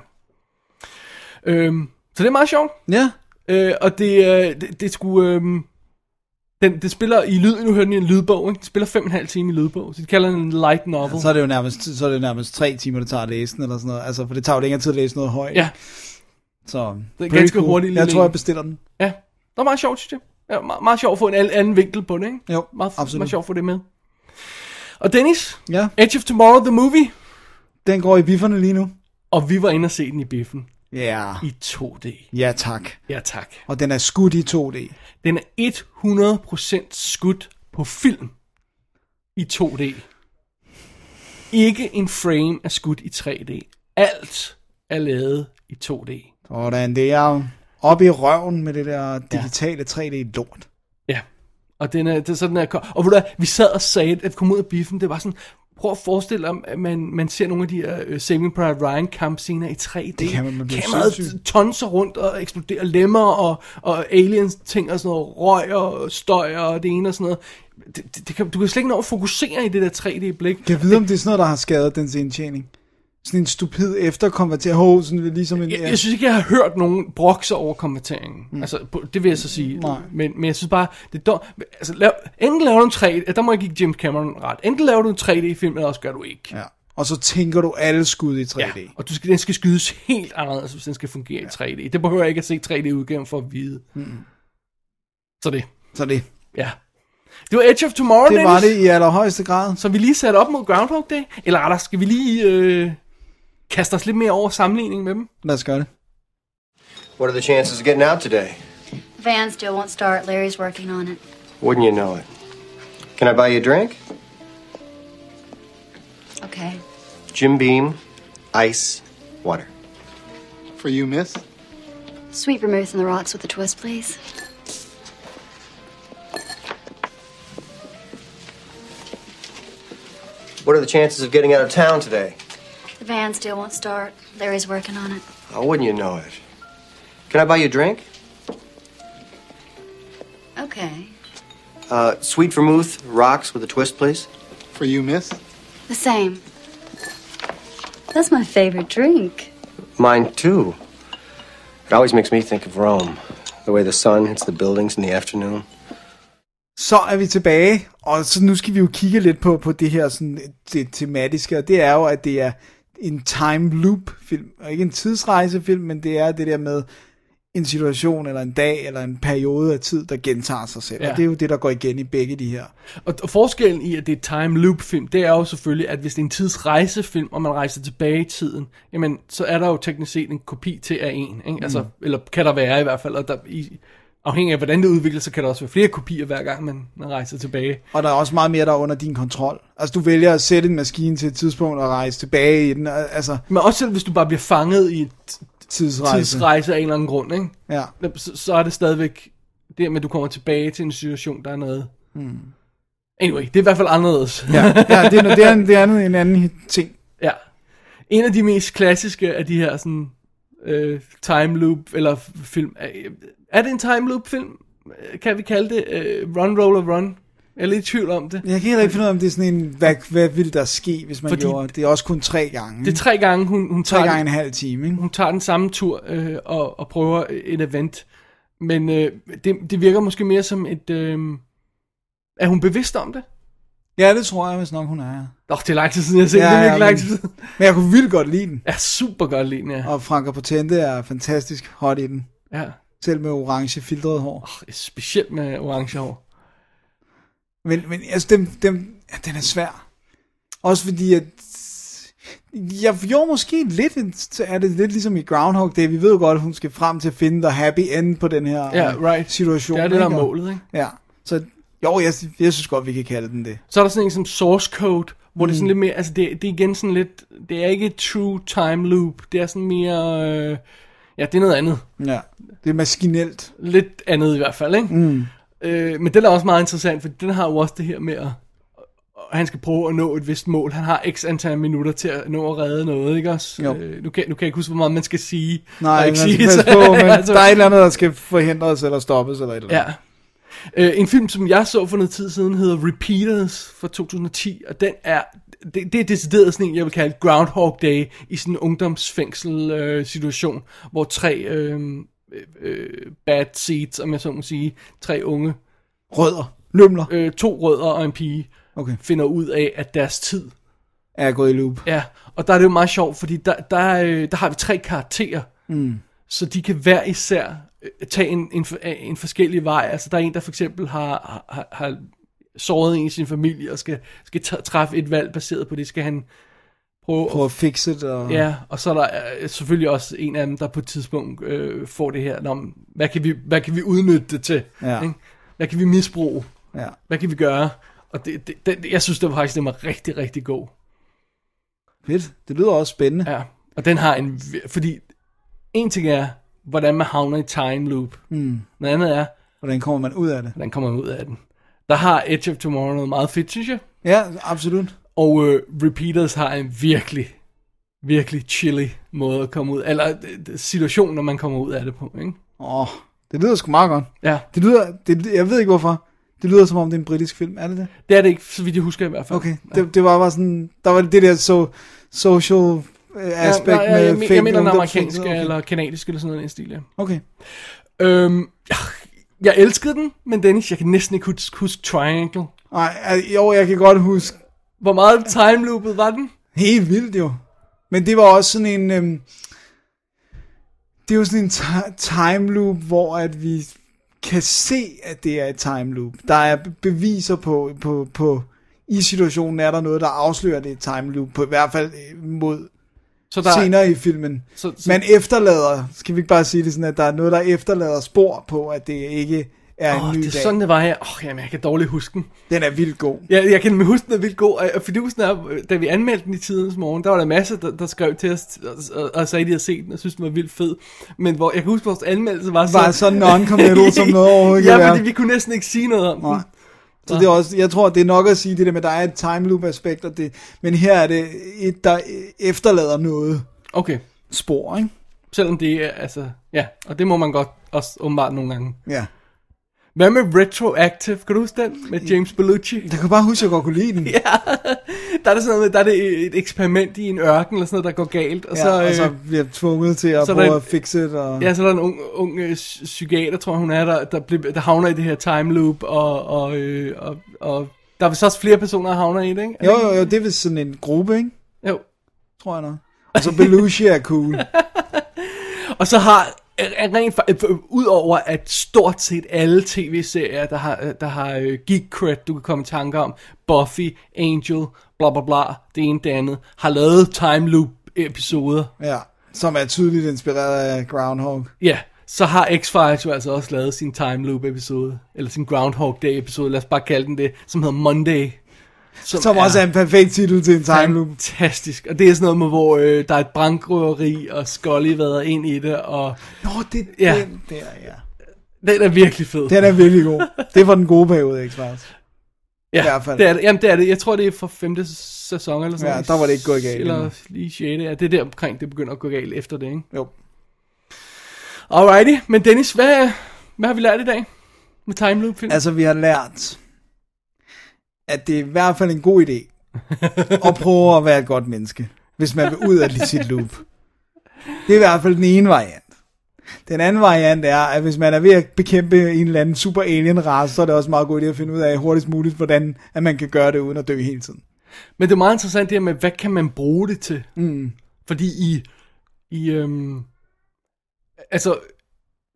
B: ja. Øhm, så det er meget sjovt,
C: Ja.
B: øh, og det, øh, det, det skulle... Øh, den, det spiller i lyd, nu hører den i en lydbog, ikke? Det spiller 5,5 timer i lydbog, så de kalder den en light novel.
C: Så er det jo nærmest, så er det jo nærmest tre timer, det tager at læse den, eller sådan noget. Altså, for det tager jo længere tid at læse noget højt.
B: Ja.
C: Så,
B: Det er
C: pretty
B: ganske hurtigt, lille
C: Jeg tror,
B: en.
C: jeg bestiller den.
B: Ja, det var meget sjovt, synes jeg. Ja, meget, meget sjovt at få en al- anden vinkel på det, ikke?
C: Jo,
B: Meget,
C: absolut.
B: meget sjovt at få det med. Og Dennis,
C: Ja,
B: Edge of Tomorrow, the movie.
C: den går i bifferne lige nu.
B: Og vi var inde og se den i biffen
C: Ja.
B: i 2D.
C: Ja, tak.
B: Ja tak.
C: Og den er skudt i 2D.
B: Den er 100% skudt på film i 2D. Ikke en frame er skudt i 3D. Alt er lavet i 2D.
C: Sådan, det er jo oppe i røven med det der digitale 3D-lort.
B: Ja, og den er, det er sådan, den er kom- Og ved du hvad, vi sad og sagde, at vi kom ud af biffen, det var sådan, prøv at forestille dig, at man, man ser nogle af de her uh, Saving Private Ryan kampscener i 3D.
C: Det kan man, man bliver sindssyg.
B: Kameraet tonser rundt og eksploderer lemmer og, og aliens ting og sådan noget, røg og støj og det ene og sådan noget. Det, det, det kan, du kan slet ikke nå at fokusere i det der 3D-blik.
C: Kan jeg vide, om det er sådan noget, der har skadet dens indtjening? Sådan en stupid efterkonvertering. Hov, sådan lidt ligesom en...
B: Jeg, jeg synes ikke, jeg har hørt nogen brokse over konverteringen. Mm. Altså, på- det vil jeg så sige.
C: Nej.
B: Men, men jeg synes bare, det er dum. Altså, lav, enten laver du en 3D, der må jeg give James Cameron ret. Enten laver du en 3D-film, eller også gør du ikke.
C: ja. Og så tænker du alle skud i 3D. Ja.
B: Og du skal, den skal skydes helt anderledes, hvis den skal fungere ja. i 3D. Det behøver jeg ikke at se 3D-udgaven for at vide. Mm. Så det,
C: Så det,
B: ja. Det var Edge of Tomorrow,
C: det var
B: Dennis,
C: det i allerhøjeste grad.
B: som vi lige satte op mod Groundhog Day. Eller rettere, skal vi lige øh, kaste os lidt mere over sammenligningen med dem?
C: Lad os gøre det.
F: What are the chances of getting out today?
G: Van still won't start. Larry's working on it.
F: Wouldn't you know it? Can I buy you a drink?
G: Okay.
F: Jim Beam, ice, water.
H: For you, miss?
G: Sweet vermouth in the rocks with a twist, please.
F: What are the chances of getting out of town today?
G: The van still won't start. Larry's working on it.
F: Oh, wouldn't you know it? Can I buy you a drink?
G: Okay.
F: Uh, sweet vermouth, rocks with a twist, please.
H: For you, miss?
G: The same. That's my favorite drink.
F: Mine too. It always makes me think of Rome. The way the sun hits the buildings in the afternoon.
C: Så er vi tilbage, og så nu skal vi jo kigge lidt på, på det her sådan, det tematiske, og det er jo, at det er en time loop film, og ikke en tidsrejsefilm, men det er det der med en situation, eller en dag, eller en periode af tid, der gentager sig selv, ja.
B: Ja.
C: og det er jo det, der går igen i begge de her.
B: Og, og forskellen i, at det er time loop film, det er jo selvfølgelig, at hvis det er en tidsrejsefilm, og man rejser tilbage i tiden, jamen, så er der jo teknisk set en kopi til af en, ikke? Altså, eller kan der være i hvert fald, og der, i, afhængig af hvordan det udvikler sig, kan der også være flere kopier hver gang, man, man rejser tilbage.
C: Og der er også meget mere, der er under din kontrol. Altså, du vælger at sætte en maskine til et tidspunkt og rejse tilbage i den, og- altså
B: Men også selv hvis du bare bliver fanget i en t-
C: tidsrejse.
B: tidsrejse af en eller anden grund, ikke?
C: Ja.
B: så, så er det stadigvæk det med, at du kommer tilbage til en situation, der er noget. Mm. Anyway, det er i hvert fald anderledes.
C: Ja, ja det, er, noget- det, er, en- det er andet en anden ting.
B: Ja. En af de mest klassiske af de her sådan øh, time loop eller f- film. Er, er det en time loop film? Øh, Kan vi kalde det øh, Run Roller Run? Jeg er lidt i tvivl om det.
C: Jeg kan heller ikke finde ud af, om det er sådan en, hvad, hvad ville der ske, hvis man Fordi
B: Fordi-
C: gjorde det. Det er også kun tre gange.
B: Det er tre gange, hun, hun,
C: tre
B: tager,
C: gange
B: den,
C: en halv time, ikke?
B: hun tager den samme tur øh, og, og prøver et event. Men øh, det, det virker måske mere som et... Øh, er hun bevidst om det?
C: Ja, det tror jeg, hvis nok hun er. ja.
B: Nå, det er lang tid siden, jeg har set
C: Ja,
B: ja, det. Det er
C: ja,
B: virkelig lang
C: men-
B: tid siden.
C: Men jeg kunne vildt godt lide den.
B: Jeg er super godt lige den her.
C: Og Franka Potente er fantastisk hot i den.
B: Ja.
C: Selv med orange filtret hår.
B: Specielt med orange hår.
C: Men, men altså, dem, dem, ja, den er svær. Også fordi, at... Jeg jo måske lidt, en- så er det lidt ligesom i Groundhog Day. Vi ved jo godt, at hun skal frem til at finde the happy end på den her
B: Ja,
C: øh,
B: right.
C: situation.
B: Det er det, der er
C: ikke? Og-
B: målet, ikke?
C: Ja, så jo, jeg, jeg synes godt, vi kan kalde den det.
B: Så er der sådan en som source code, hvor mm. det er sådan lidt mere, altså det, det er igen sådan lidt, det er ikke et true time loop, det er sådan mere, øh, ja det er noget andet,
C: Ja. Det er maskinelt.
B: lidt andet i hvert fald, ikke? Mm. Øh, men den er også meget interessant, for den har jo også det her med at, og han skal prøve at nå et vist mål, han har x antal minutter til at nå at redde noget, ikke også?
C: Jo.
B: Øh, nu, kan, nu kan jeg ikke huske, hvor meget man skal sige,
C: Nej,
B: og
C: man
B: ikke
C: skal
B: sige,
C: passe
B: så-
C: på, men
B: altså-
C: der er et eller andet, der skal forhindres eller stoppes eller et eller andet.
B: Ja. Øh, en film, som jeg så for noget tid siden, hedder Repeaters fra 2010, og den er, det, det er decideret sådan en, jeg vil kalde Groundhog Day, i sådan en ungdomsfængsel-situation, øh, situation, hvor tre øh, øh, øh, bad seeds, om jeg så må sige, tre unge,
C: Rødder. Lømler.
B: øh, to rødder og en pige,
C: Okay.
B: finder ud af, at deres tid
C: Er jeg gået i loop.
B: Ja, og der er det jo meget sjovt, fordi der, der, øh, der har vi tre karakterer, mm. så de kan hver især øh, tage en, en, for- en forskellig vej. Altså der er en, der for eksempel har, har, har såret en i sin familie og skal, skal ta- træffe et valg baseret på det. Skal han prøve
C: Prøv at fikse det. Og...
B: Ja, og så er der øh, selvfølgelig også en af dem, der på et tidspunkt øh, får det her, om, hvad, kan vi, hvad kan vi udnytte det til?
C: Ja.
B: Ikke? Hvad kan vi misbruge?
C: ja.
B: Hvad kan vi gøre? Og det, det, det, jeg synes, det var faktisk den var rigtig, rigtig god.
C: Fedt. Det lyder også spændende.
B: Ja. Og den har en... vir- Fordi en ting er, hvordan man havner i time loop. Mm. Noget andet er,
C: Hvordan kommer man ud af det?
B: hvordan kommer man ud af den. Der har Edge of Tomorrow noget meget fedt, synes jeg.
C: Ja, absolut.
B: Og øh, Repeaters har en virkelig, virkelig chilly måde at komme ud Eller øh, situation, når man kommer ud af det på, ikke?
C: Åh, det lyder sgu meget godt.
B: Ja,
C: Det lyder, det, jeg ved ikke hvorfor, det lyder som om det er en britisk film, er det det?
B: det er det ikke, så vidt jeg husker i hvert fald.
C: Okay, det, det var bare sådan, der var det der so, social øh,
B: Ja,
C: aspect
B: nej,
C: med
B: jeg, jeg,
C: fake
B: jeg mener den
C: ungdoms-
B: amerikanske okay.
C: okay.
B: eller kanadiske eller sådan noget i den stil, ja.
C: Okay,
B: Øhm, jeg elskede den, men Dennis, jeg kan næsten ikke huske, huske Triangle.
C: nej, øh, jo, jeg kan godt huske,
B: Hvor meget time loopet var den?
C: helt vildt jo. Men det var også sådan en, øhm, det er jo sådan en ti- time loop, hvor at vi kan se, at det er et time loop. Der er beviser på, på, på i situationen er der noget, der afslører at det er et time loop, på i hvert fald øh, mod
B: Så
C: der... senere i filmen.
B: Så-
C: Så,
B: så-
C: så... Man efterlader, skal vi ikke bare sige det sådan, at der er noget, der efterlader spor på, at det ikke er en
B: Åh,
C: ny
B: det er
C: dag.
B: sådan, det var her. Åh, jamen, jeg kan dårligt huske den.
C: Den er vildt god.
B: Jeg, jeg kan nemlig huske, den er vildt god, og- og fidusen er, øh, da vi anmeldte den i tidens morgen, der var der masser, der, der skrev til os og, og, og sagde, at de havde set den og syntes, den var vildt fed. Men hvor, jeg kan huske, at vores anmeldelse var så...
C: Var så non-committal som noget overhovedet kan
B: Ja,
C: være.
B: fordi vi kunne næsten ikke sige noget om den.
C: Nej. Så det er også, jeg tror, det er nok at sige det der med, at der er et time loop aspekt, og det, men her er det et, der efterlader noget
B: Okay,
C: spor, ikke?
B: selvom det er, altså... Ja, og det må man godt også åbenbart nogle gange.
C: Ja.
B: Hvad med Retroactive? Kan du huske den? Med James Belushi?
C: Jeg kan bare huske, at jeg godt kunne lide den. Ja,
B: Der er det sådan noget med, der er det et eksperiment i en ørken eller sådan noget, der går galt. Og
C: ja,
B: så,
C: og
B: øh,
C: så bliver jeg tvunget til at
B: så er
C: prøve
B: der en-
C: at fikse det. Og...
B: Ja, så er der en ung, ung øh, psy- psykiater, tror jeg, hun er, der, der, bliver, der havner i det her time loop, og, og, øh, og, og der er vist også flere personer, der havner i det, ikke? Er
C: Jo,
B: det
C: jo, jo, det er vist sådan en gruppe, ikke?
B: ikke? jo.
C: Tror jeg nok. Og så Belushi er cool.
B: Og så har er- er rent fa- øh, udover at stort set alle tv-serier, der har, øh, der har øh, geek cred, du kan komme i tanke om, Buffy, Angel, bla bla bla, det ene det andet, har lavet time loop episoder.
C: Ja, som er tydeligt inspireret af Groundhog.
B: Ja, så har X-Files jo altså også lavet sin Time Loop episode, eller sin Groundhog Day episode, lad os bare kalde den det, som hedder Monday.
C: Som også er en perfekt titel til en time loop.
B: Fantastisk, og det er sådan noget med, hvor øh, der er et brandrøveri, og Scully vader ind i det, og
C: Nå, det er
B: Ja.
C: ja. den der, ja.
B: den er virkelig fed.
C: Den er virkelig god. Det var den gode periode, ikke faktisk?
B: ja,
C: i hvert fald.
B: Det er det. Jamen det er det, jeg tror det er fra femte sæson eller sådan
C: Ja,
B: noget.
C: der var det ikke gået galt
B: Eller
C: endnu.
B: lige sjette, ja, det er der omkring, det begynder at gå galt efter det, ikke?
C: Jo.
B: Alrighty, men Dennis, hvad, hvad har vi lært i dag med Time Loop film?
C: Altså, vi har lært, at det er i hvert fald en god idé at prøve at være et godt menneske, hvis man vil ud af sit loop. Det er i hvert fald den ene variant. Den anden variant er, at hvis man er ved at bekæmpe en eller anden super alien race, så er det også en meget god idé at finde ud af hurtigst muligt, hvordan at man kan gøre det uden at dø hele tiden.
B: Men det er meget interessant det her med, hvad kan man bruge det til? Mm. Fordi i, i øhm, altså,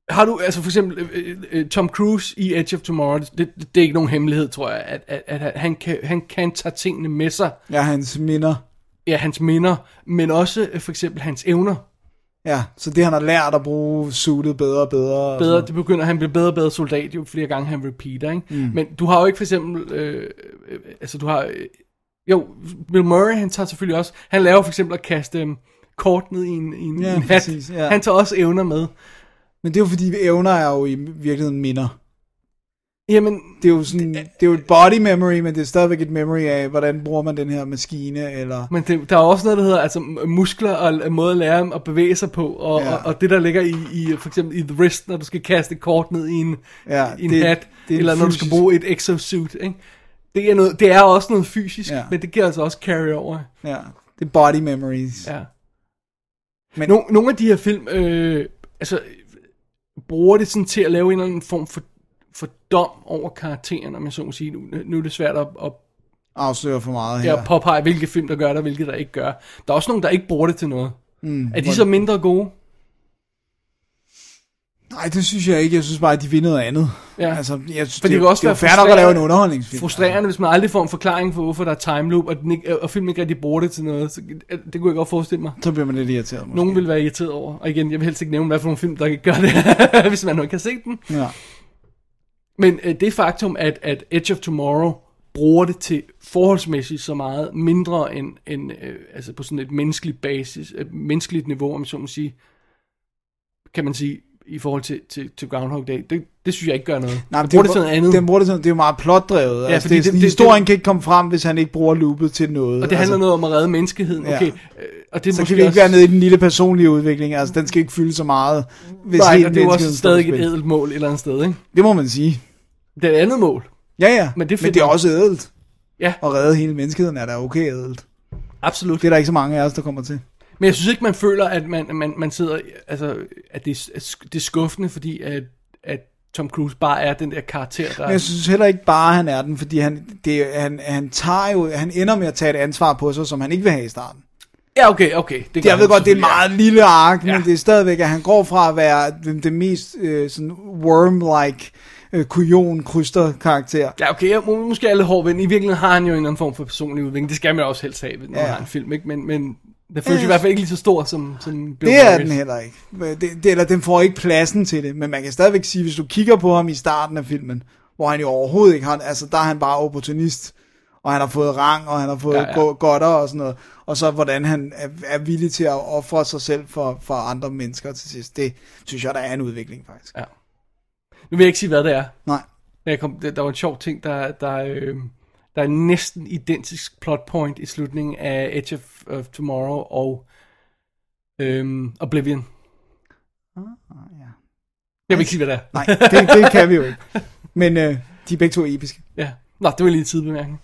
B: har du, altså for eksempel øh, øh, Tom Cruise i Edge of Tomorrow, det, det, det er ikke nogen hemmelighed, tror jeg, at, at, at han, kan, han kan tage tingene med sig,
C: Ja, hans minder.
B: ja, hans minder, men også øh, for eksempel hans evner.
C: Ja, så det han har lært at bruge suitet bedre og bedre. og
B: bedre,
C: sådan.
B: det begynder, han bliver bedre og bedre soldat, jo flere gange han repeater, ikke? Mm. Men du har jo ikke for eksempel, øh, øh, altså du har, øh, jo, Bill Murray, han tager selvfølgelig også, han laver for eksempel at kaste øh, kort ned i en, i en,
C: Ja,
B: en hat.
C: præcis, ja.
B: Han tager også evner med.
C: Men det er jo fordi, evner er jo i virkeligheden minder.
B: Jamen,
C: Det er jo sådan, det er jo et body memory, men det er stadigvæk et memory af, hvordan bruger man den her maskine, eller...
B: men det, der er også noget, der hedder altså, muskler og en måde at lære dem at bevæge sig på, og,
C: Ja.
B: og, og det, der ligger i, i for eksempel i The Wrist, når du skal kaste et kort ned i en,
C: Ja,
B: i en
C: det-
B: hat,
C: det er
B: eller når du skal
C: fysisk.
B: bruge et exosuit, ikke? Det er, noget, det er også noget fysisk,
C: Ja.
B: men det giver altså også carry-over.
C: Ja, det er body memories.
B: Ja. Men
C: Men-
B: no, nogle af de her film, øh, altså, øh, bruger det sådan til at lave en eller anden form for, for dom over karakteren, om jeg så må sige. Nu, nu er det svært at, at,
C: Afslører for meget her.
B: ja. at påpege, hvilke film, der gør det, og hvilke, der ikke gør. Der er også nogen, der ikke bruger det til noget. Mm, er de så mindre gode?
C: Nej, det synes jeg ikke. Jeg synes bare, at de vil noget andet.
B: Ja.
C: Altså, jeg synes,
B: For det
C: det,
B: kan også
C: det er
B: være
C: jo fair nok at
B: frustrerende-
C: lave en underholdningsfilm.
B: frustrerende, hvis man aldrig får en forklaring for, hvorfor der er time loop, og, den ikke, og filmen ikke rigtig bruger det til noget. Så, øh, det kunne jeg godt forestille mig.
C: Så bliver man lidt irriteret måske.
B: Nogen vil være irriteret over. Og igen, jeg vil helst ikke nævne, hvad for nogle film, der ikke gør det, hvis man nu ikke har set den.
C: Ja.
B: Men øh, det faktum, at, at Edge of Tomorrow bruger det til forholdsmæssigt så meget mindre end, end øh, altså på sådan et menneskeligt basis, et menneskeligt niveau, om jeg så må sige, kan man sige, i forhold til, til, til Groundhog Day, det, det synes jeg ikke gør noget.
C: Nej,
B: Den
C: men
B: bruger det til noget andet.
C: Den bruger det, til, det er jo meget plotdrevet. Ja, altså,
B: fordi
C: det, er
B: det-
C: sådan,
B: det-
C: historien
B: det-
C: kan ikke komme frem, hvis han ikke bruger loopet til noget.
B: og det handler
C: altså,
B: altså, noget om at redde menneskeheden.
C: Ja.
B: Okay, øh, og det er
C: Så
B: måske
C: kan vi ikke
B: også,
C: være nede i den lille personlige udvikling. Altså, den skal ikke fylde så meget, hvis
B: Nej,
C: hele
B: og det er jo også
C: menneskeheden står
B: stadig
C: på
B: et
C: spil.
B: ædelt mål et eller andet sted, ikke?
C: Det må man sige.
B: Det er et andet mål.
C: Ja, ja.
B: Men det er fedt
C: men det er
B: nok.
C: også ædelt.
B: Ja.
C: At redde hele menneskeheden er da okay ædelt.
B: Absolut.
C: Det er der ikke så mange af os, der kommer til.
B: Men jeg synes ikke, man føler, at man, man, man sidder, altså, at det, er s- at sk- det er skuffende, fordi at, at Tom Cruise bare er den der karakter, der...
C: Men jeg synes heller ikke bare, at han er den, fordi han, det, han, han, tager jo, han ender med at tage et ansvar på sig, som han ikke vil have i starten.
B: Ja, okay, okay. Det gør
C: Jeg ved
B: han
C: godt, det er en
B: selvfølgelig.
C: meget lille ark,
B: Ja.
C: men det er stadigvæk, at han går fra at være den, den mest øh, sådan worm-like øh, kujon kryster karakter
B: Ja, okay, jeg må, måske alle hård ved den. I virkeligheden har han jo en eller anden form for personlig udvikling. Det skal man også helst have, når man
C: Ja.
B: har en film, ikke? Men, men det føles
C: Ja.
B: i hvert fald ikke lige så stor som, som Bill
C: Det
B: Murray's.
C: er den heller ikke. Øh, Det, det, eller den får ikke pladsen til det, men man kan stadigvæk sige, hvis du kigger på ham i starten af filmen, hvor han jo overhovedet ikke har, altså der er han bare opportunist, og han har fået rang, og han har fået
B: Ja,
C: ja,
B: ja.
C: ja. godter og sådan noget, og så hvordan han er, er villig til at ofre sig selv for, for andre mennesker til sidst, det synes jeg, der er en udvikling faktisk.
B: Ja. Nu vil jeg ikke sige, hvad det er.
C: Nej,
B: Men Jeg kom, der, der var en sjov ting, der, der, øh, der er næsten identisk plot point i slutningen af Edge of, of Tomorrow og øh, Oblivion.
C: ja.
B: Jeg vil ikke sige, hvad det er.
C: Nej det, det kan vi jo ikke. Men øh, de er begge to episke.
B: Ja. Nå, det var lige en tidbemærkning.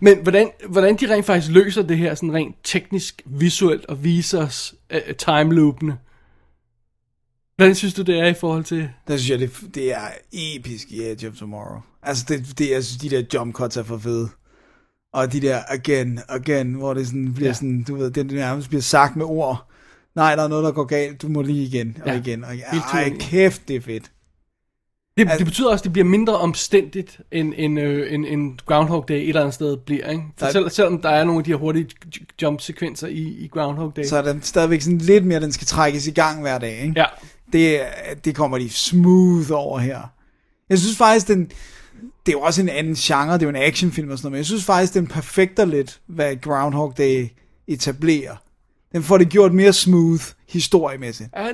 B: Men hvordan, hvordan de rent faktisk løser det her sådan rent teknisk, visuelt og viser os øh, time loopene. Hvordan synes du, det er i forhold til...
C: Der synes jeg, det, det er episk i Edge of Tomorrow. Altså, det, det, jeg synes, de der jump cuts er for fede. Og de der again, again, hvor det sådan bliver
B: Ja.
C: ja. sådan, du ved, det nærmest bliver sagt med ord. Nej, der er noget, der går galt, du må lige igen, og
B: Ja.
C: ja. igen, og igen.
B: Hele turen
C: Ej,
B: i.
C: kæft, det er fedt.
B: Det,
C: Altså-
B: det betyder også, at det bliver mindre omstændigt, end, end, øh, end, end Groundhog Day et eller andet sted bliver. Ikke? For
C: Der-
B: selv, selvom der er nogle af de her hurtige j- j- jump-sekvenser i, i Groundhog Day.
C: Så er der stadigvæk sådan lidt mere, den skal trækkes i gang hver dag, ikke?
B: Ja,
C: Det, er- det kommer de smooth over her. Jeg synes faktisk, den, det er jo også en anden genre, det er jo en actionfilm og sådan noget, men jeg synes faktisk, den perfekter lidt, hvad Groundhog Day etablerer. Den får det gjort mere smooth historiemæssigt.
B: ja,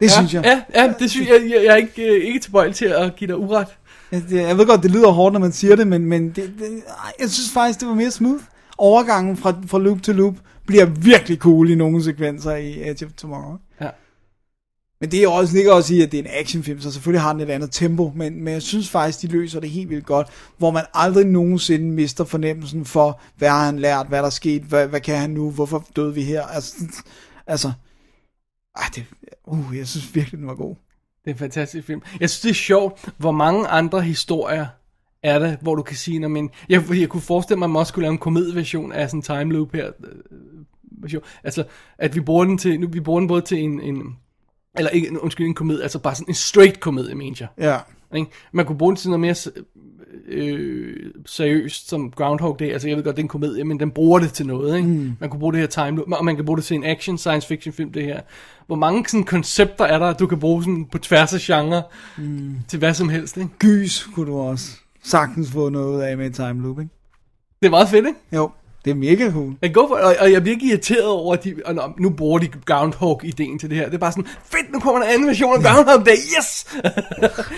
C: Det
B: ja,
C: synes jeg.
B: ja, ja det synes jeg. Jeg, jeg er ikke, øh, ikke tilbøjelig til at give dig uret.
C: Jeg, det- jeg ved godt, det lyder hårdt, når man siger det, men, men det, det, ej, jeg synes faktisk, det var mere smooth. Overgangen fra, fra loop til loop bliver virkelig cool i nogle sekvenser i Edge of Tomorrow.
B: Ja.
C: Men det er også, ligger også i, at det er en actionfilm, så selvfølgelig har den et andet tempo, men, men jeg synes faktisk, de løser det helt vildt godt, hvor man aldrig nogensinde mister fornemmelsen for, hvad har han lært, hvad er der sket, hvad, hvad kan han nu, hvorfor døde vi her? Altså, altså ah, det, uh, jeg synes virkelig, den var god.
B: Det er en fantastisk film. Jeg synes, det er sjovt, hvor mange andre historier er det, hvor du kan sige, "Nå, men jeg, jeg kunne forestille mig, at man også kunne lave en komedieversion af sådan en time loop her. øh, version. Altså, at vi bruger den til, nu, vi bruger den både til en, en eller ikke, en- undskyld, en komedie, altså bare sådan en straight komedie, mener jeg.
C: Ja.
B: Ikke? Man kunne bruge den til noget mere se- øh, seriøst, som Groundhog Day. Altså, jeg ved godt, det er en komedie, men den bruger det til noget. Ikke? Mm. Man kunne bruge det her time loop, og man kan bruge det til en action science fiction film, det her. Hvor mange sådan, koncepter er der, du kan bruge sådan, på tværs af genre mm. til hvad som helst. Ikke?
C: Gys kunne du også sagtens få noget ud af med time loop, ikke?
B: Det er meget fedt, ikke?
C: Jo, det er mega cool.
B: Jeg går for, og, og jeg bliver ikke irriteret over, at de, og nå, nu bruger de Groundhog-ideen til det her. Det er bare sådan, fedt, nu kommer der en anden version af Groundhog Day, yes!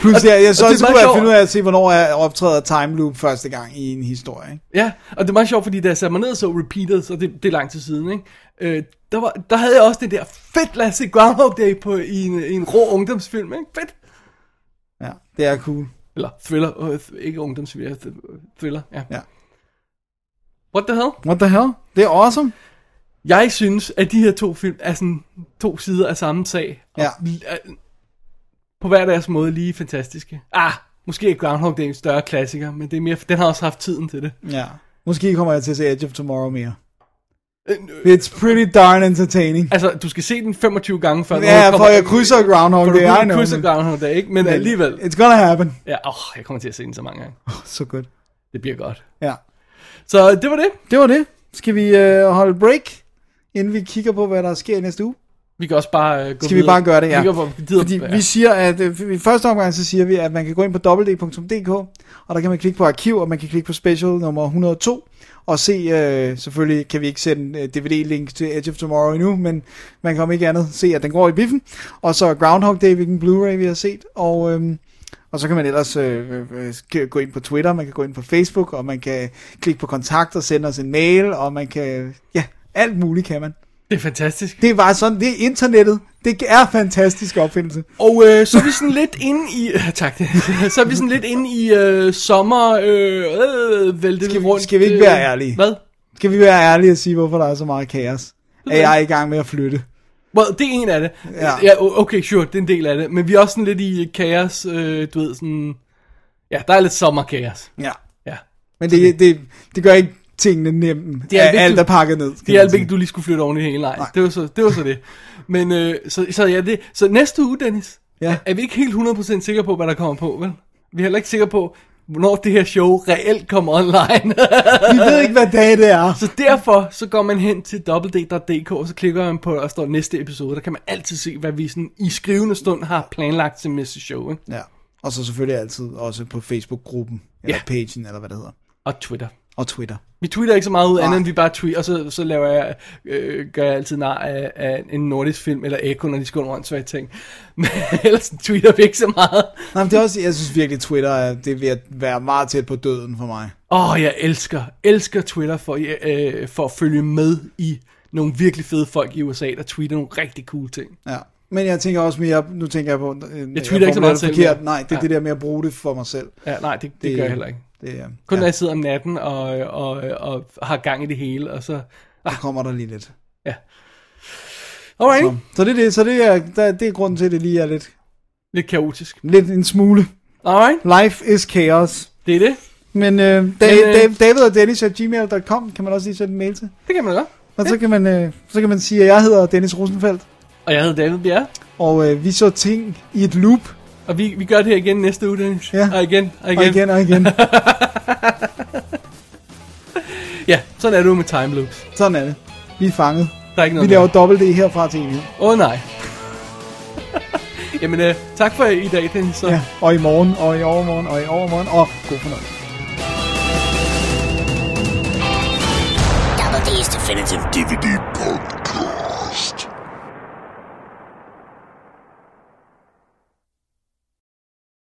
C: Plus, jeg, jeg så
B: og det er
C: også
B: meget
C: kunne jeg
B: sjovt.
C: finde ud af at se, hvornår jeg optræder time loop første gang i en historie, ikke?
B: Ja, og det er meget sjovt, fordi da jeg satte mig ned og så Repeated, og det, det er lang tid siden, ikke? Øh, der, var, der havde jeg også det der, fedt, lad os se Groundhog Day på, i, en, i en rå ungdomsfilm, ikke? Fedt!
C: Ja, det er cool.
B: Eller thriller, øh, th- ikke ungdomsfilm, ja, th- thriller, ja.
C: Ja.
B: What the hell?
C: What the hell? Det er awesome.
B: Jeg synes, at de her to film er sådan to sider af samme sag. Og
C: Ja.
B: l- er på hver deres måde lige fantastiske. Ah, måske er Groundhog Day en større klassiker, men det er mere, den har også haft tiden til det.
C: Ja. Måske kommer jeg til at se Edge of Tomorrow mere. It's pretty darn entertaining.
B: Øh, Altså, du skal se den 25 gange før.
C: Ja, for jeg krydser Groundhog
B: for
C: Day, I
B: du
C: know.
B: krydser Groundhog Day, ikke? Men alligevel.
C: It's gonna happen.
B: Ja, åh, jeg kommer til at se den så mange gange.
C: Så godt.
B: Det bliver godt.
C: Ja.
B: Så øh, det var det.
C: Det var det. Skal vi øh, holde break, inden vi kigger på, hvad der sker i næste uge?
B: Vi kan også bare øh, gå
C: Skal vi
B: videre.
C: bare gøre det, ja.
B: Vi kan bare, gider,
C: Fordi vi siger, at øh, i første omgang, så siger vi, at man kan gå ind på www.dk, og der kan man klikke på arkiv, og man kan klikke på special nummer 102, og se, øh, selvfølgelig kan vi ikke sende øh, DVD-link til Edge of Tomorrow endnu, men man kan om ikke andet se, at den går i biffen, og så Groundhog Day, hvilken Blu-ray vi har set, og... Øh, og så kan man ellers øh, øh, øh, sk- gå ind på Twitter, man kan gå ind på Facebook, og man kan klikke på kontakt og sende os en mail, og man kan, ja, alt muligt kan man.
B: Det er fantastisk.
C: Det er bare sådan, det er internettet. Det er fantastisk opfindelse.
B: Og øh, så er vi sådan lidt inde i... Tak. så er vi sådan lidt inde i øh, sommer... Øh, øh, vælte
C: Skal vi-
B: rundt.
C: skal vi ikke
B: øh,
C: være ærlige?
B: Hvad?
C: Skal vi være ærlige og sige, hvorfor der er så meget kaos? Er jeg i gang med at flytte?
B: Well, det er en af det.
C: Ja.
B: ja. o- Okay, sure, det er en del af det. Men vi er også sådan lidt i kaos, øh, du ved, sådan... Ja, der er lidt sommerkaos.
C: Ja.
B: Ja.
C: Men det, det, det gør ikke tingene nemme.
B: Det
C: Det
B: er
C: er
B: vigtigt-
C: alt er pakket ned. skal
B: Det er
C: man
B: alt
C: sige.
B: ikke, du lige skulle flytte oven i hele nej. Det var så det. Var så det. Men øh, så, så, ja, det, så næste uge, Dennis,
C: Ja.
B: er vi ikke helt 100% sikre på, hvad der kommer på, vel? Vi er heller ikke sikre på, hvornår det her show reelt kommer online.
C: Vi ved ikke, hvad dag det er.
B: Så derfor så går man hen til E www.dk, og så klikker man på, og der står næste episode. Der kan man altid se, hvad vi sådan i skrivende stund har planlagt til næste show. Ikke?
C: Ja. Og så selvfølgelig altid også på Facebook-gruppen, eller
B: Ja.
C: pagen, eller hvad det hedder.
B: Og Twitter.
C: Og Twitter.
B: Vi tweeter ikke så meget ud, andet
C: Nej.
B: end vi bare tweeter, og så, så laver jeg, øh, gør jeg altid nar af, af, en nordisk film, eller Eko, når de skal rundt, så jeg tænker. Men ellers tweeter vi ikke så meget.
C: Nej, men det er også, jeg synes virkelig, Twitter er, det er ved at være meget tæt på døden for mig.
B: Åh, oh, jeg elsker, elsker Twitter for, øh, for at følge med i nogle virkelig fede folk i USA, der tweeter nogle rigtig cool ting.
C: Ja. Men jeg tænker også mere, nu tænker jeg på, øh,
B: ikke så meget
C: formulerer det
B: selv,
C: forkert.
B: men-
C: Nej, det er
B: Ja.
C: det der med at bruge det for mig selv.
B: Ja, nej, det, det, det gør jeg heller ikke.
C: Det, er-
B: Kun ja. når
C: ja,
B: jeg sidder om natten og, og, og, og har gang i det hele, og så...
C: det kommer der lige lidt.
B: Ja. Alright.
C: Så det er det, så det er, der, det er grunden til, at det lige er lidt,
B: Lidt kaotisk.
C: lidt en smule.
B: Alright,
C: Life is chaos.
B: det er det.
C: Men øh,
B: Men,
C: David,
B: øh,
C: David, David og Dennis at gmail.com kan man også lige sende en mail til.
B: Det kan man godt.
C: Og så kan man, øh, så kan man sige, at jeg hedder Dennis Rosenfeldt,
B: Og jeg hedder David Bjerre,
C: og øh, vi så ting i et loop,
B: og vi, vi gør det her igen næste uge, Dennis.
C: Ja.
B: Og igen, og igen.
C: og igen og igen.
B: Ja, sådan er du med time loops.
C: Sådan er det. Vi er fanget.
B: Der er ikke
C: Vi
B: noget
C: laver dobbelt det herfra til E. evighed.
B: mere. Åh oh, nej. Jamen, øh, tak for i dag, Dennis. Så.
C: Ja, og i morgen, og i overmorgen, og i overmorgen, og god fornøjelse.
I: Double D's Definitive
J: DVD podcast.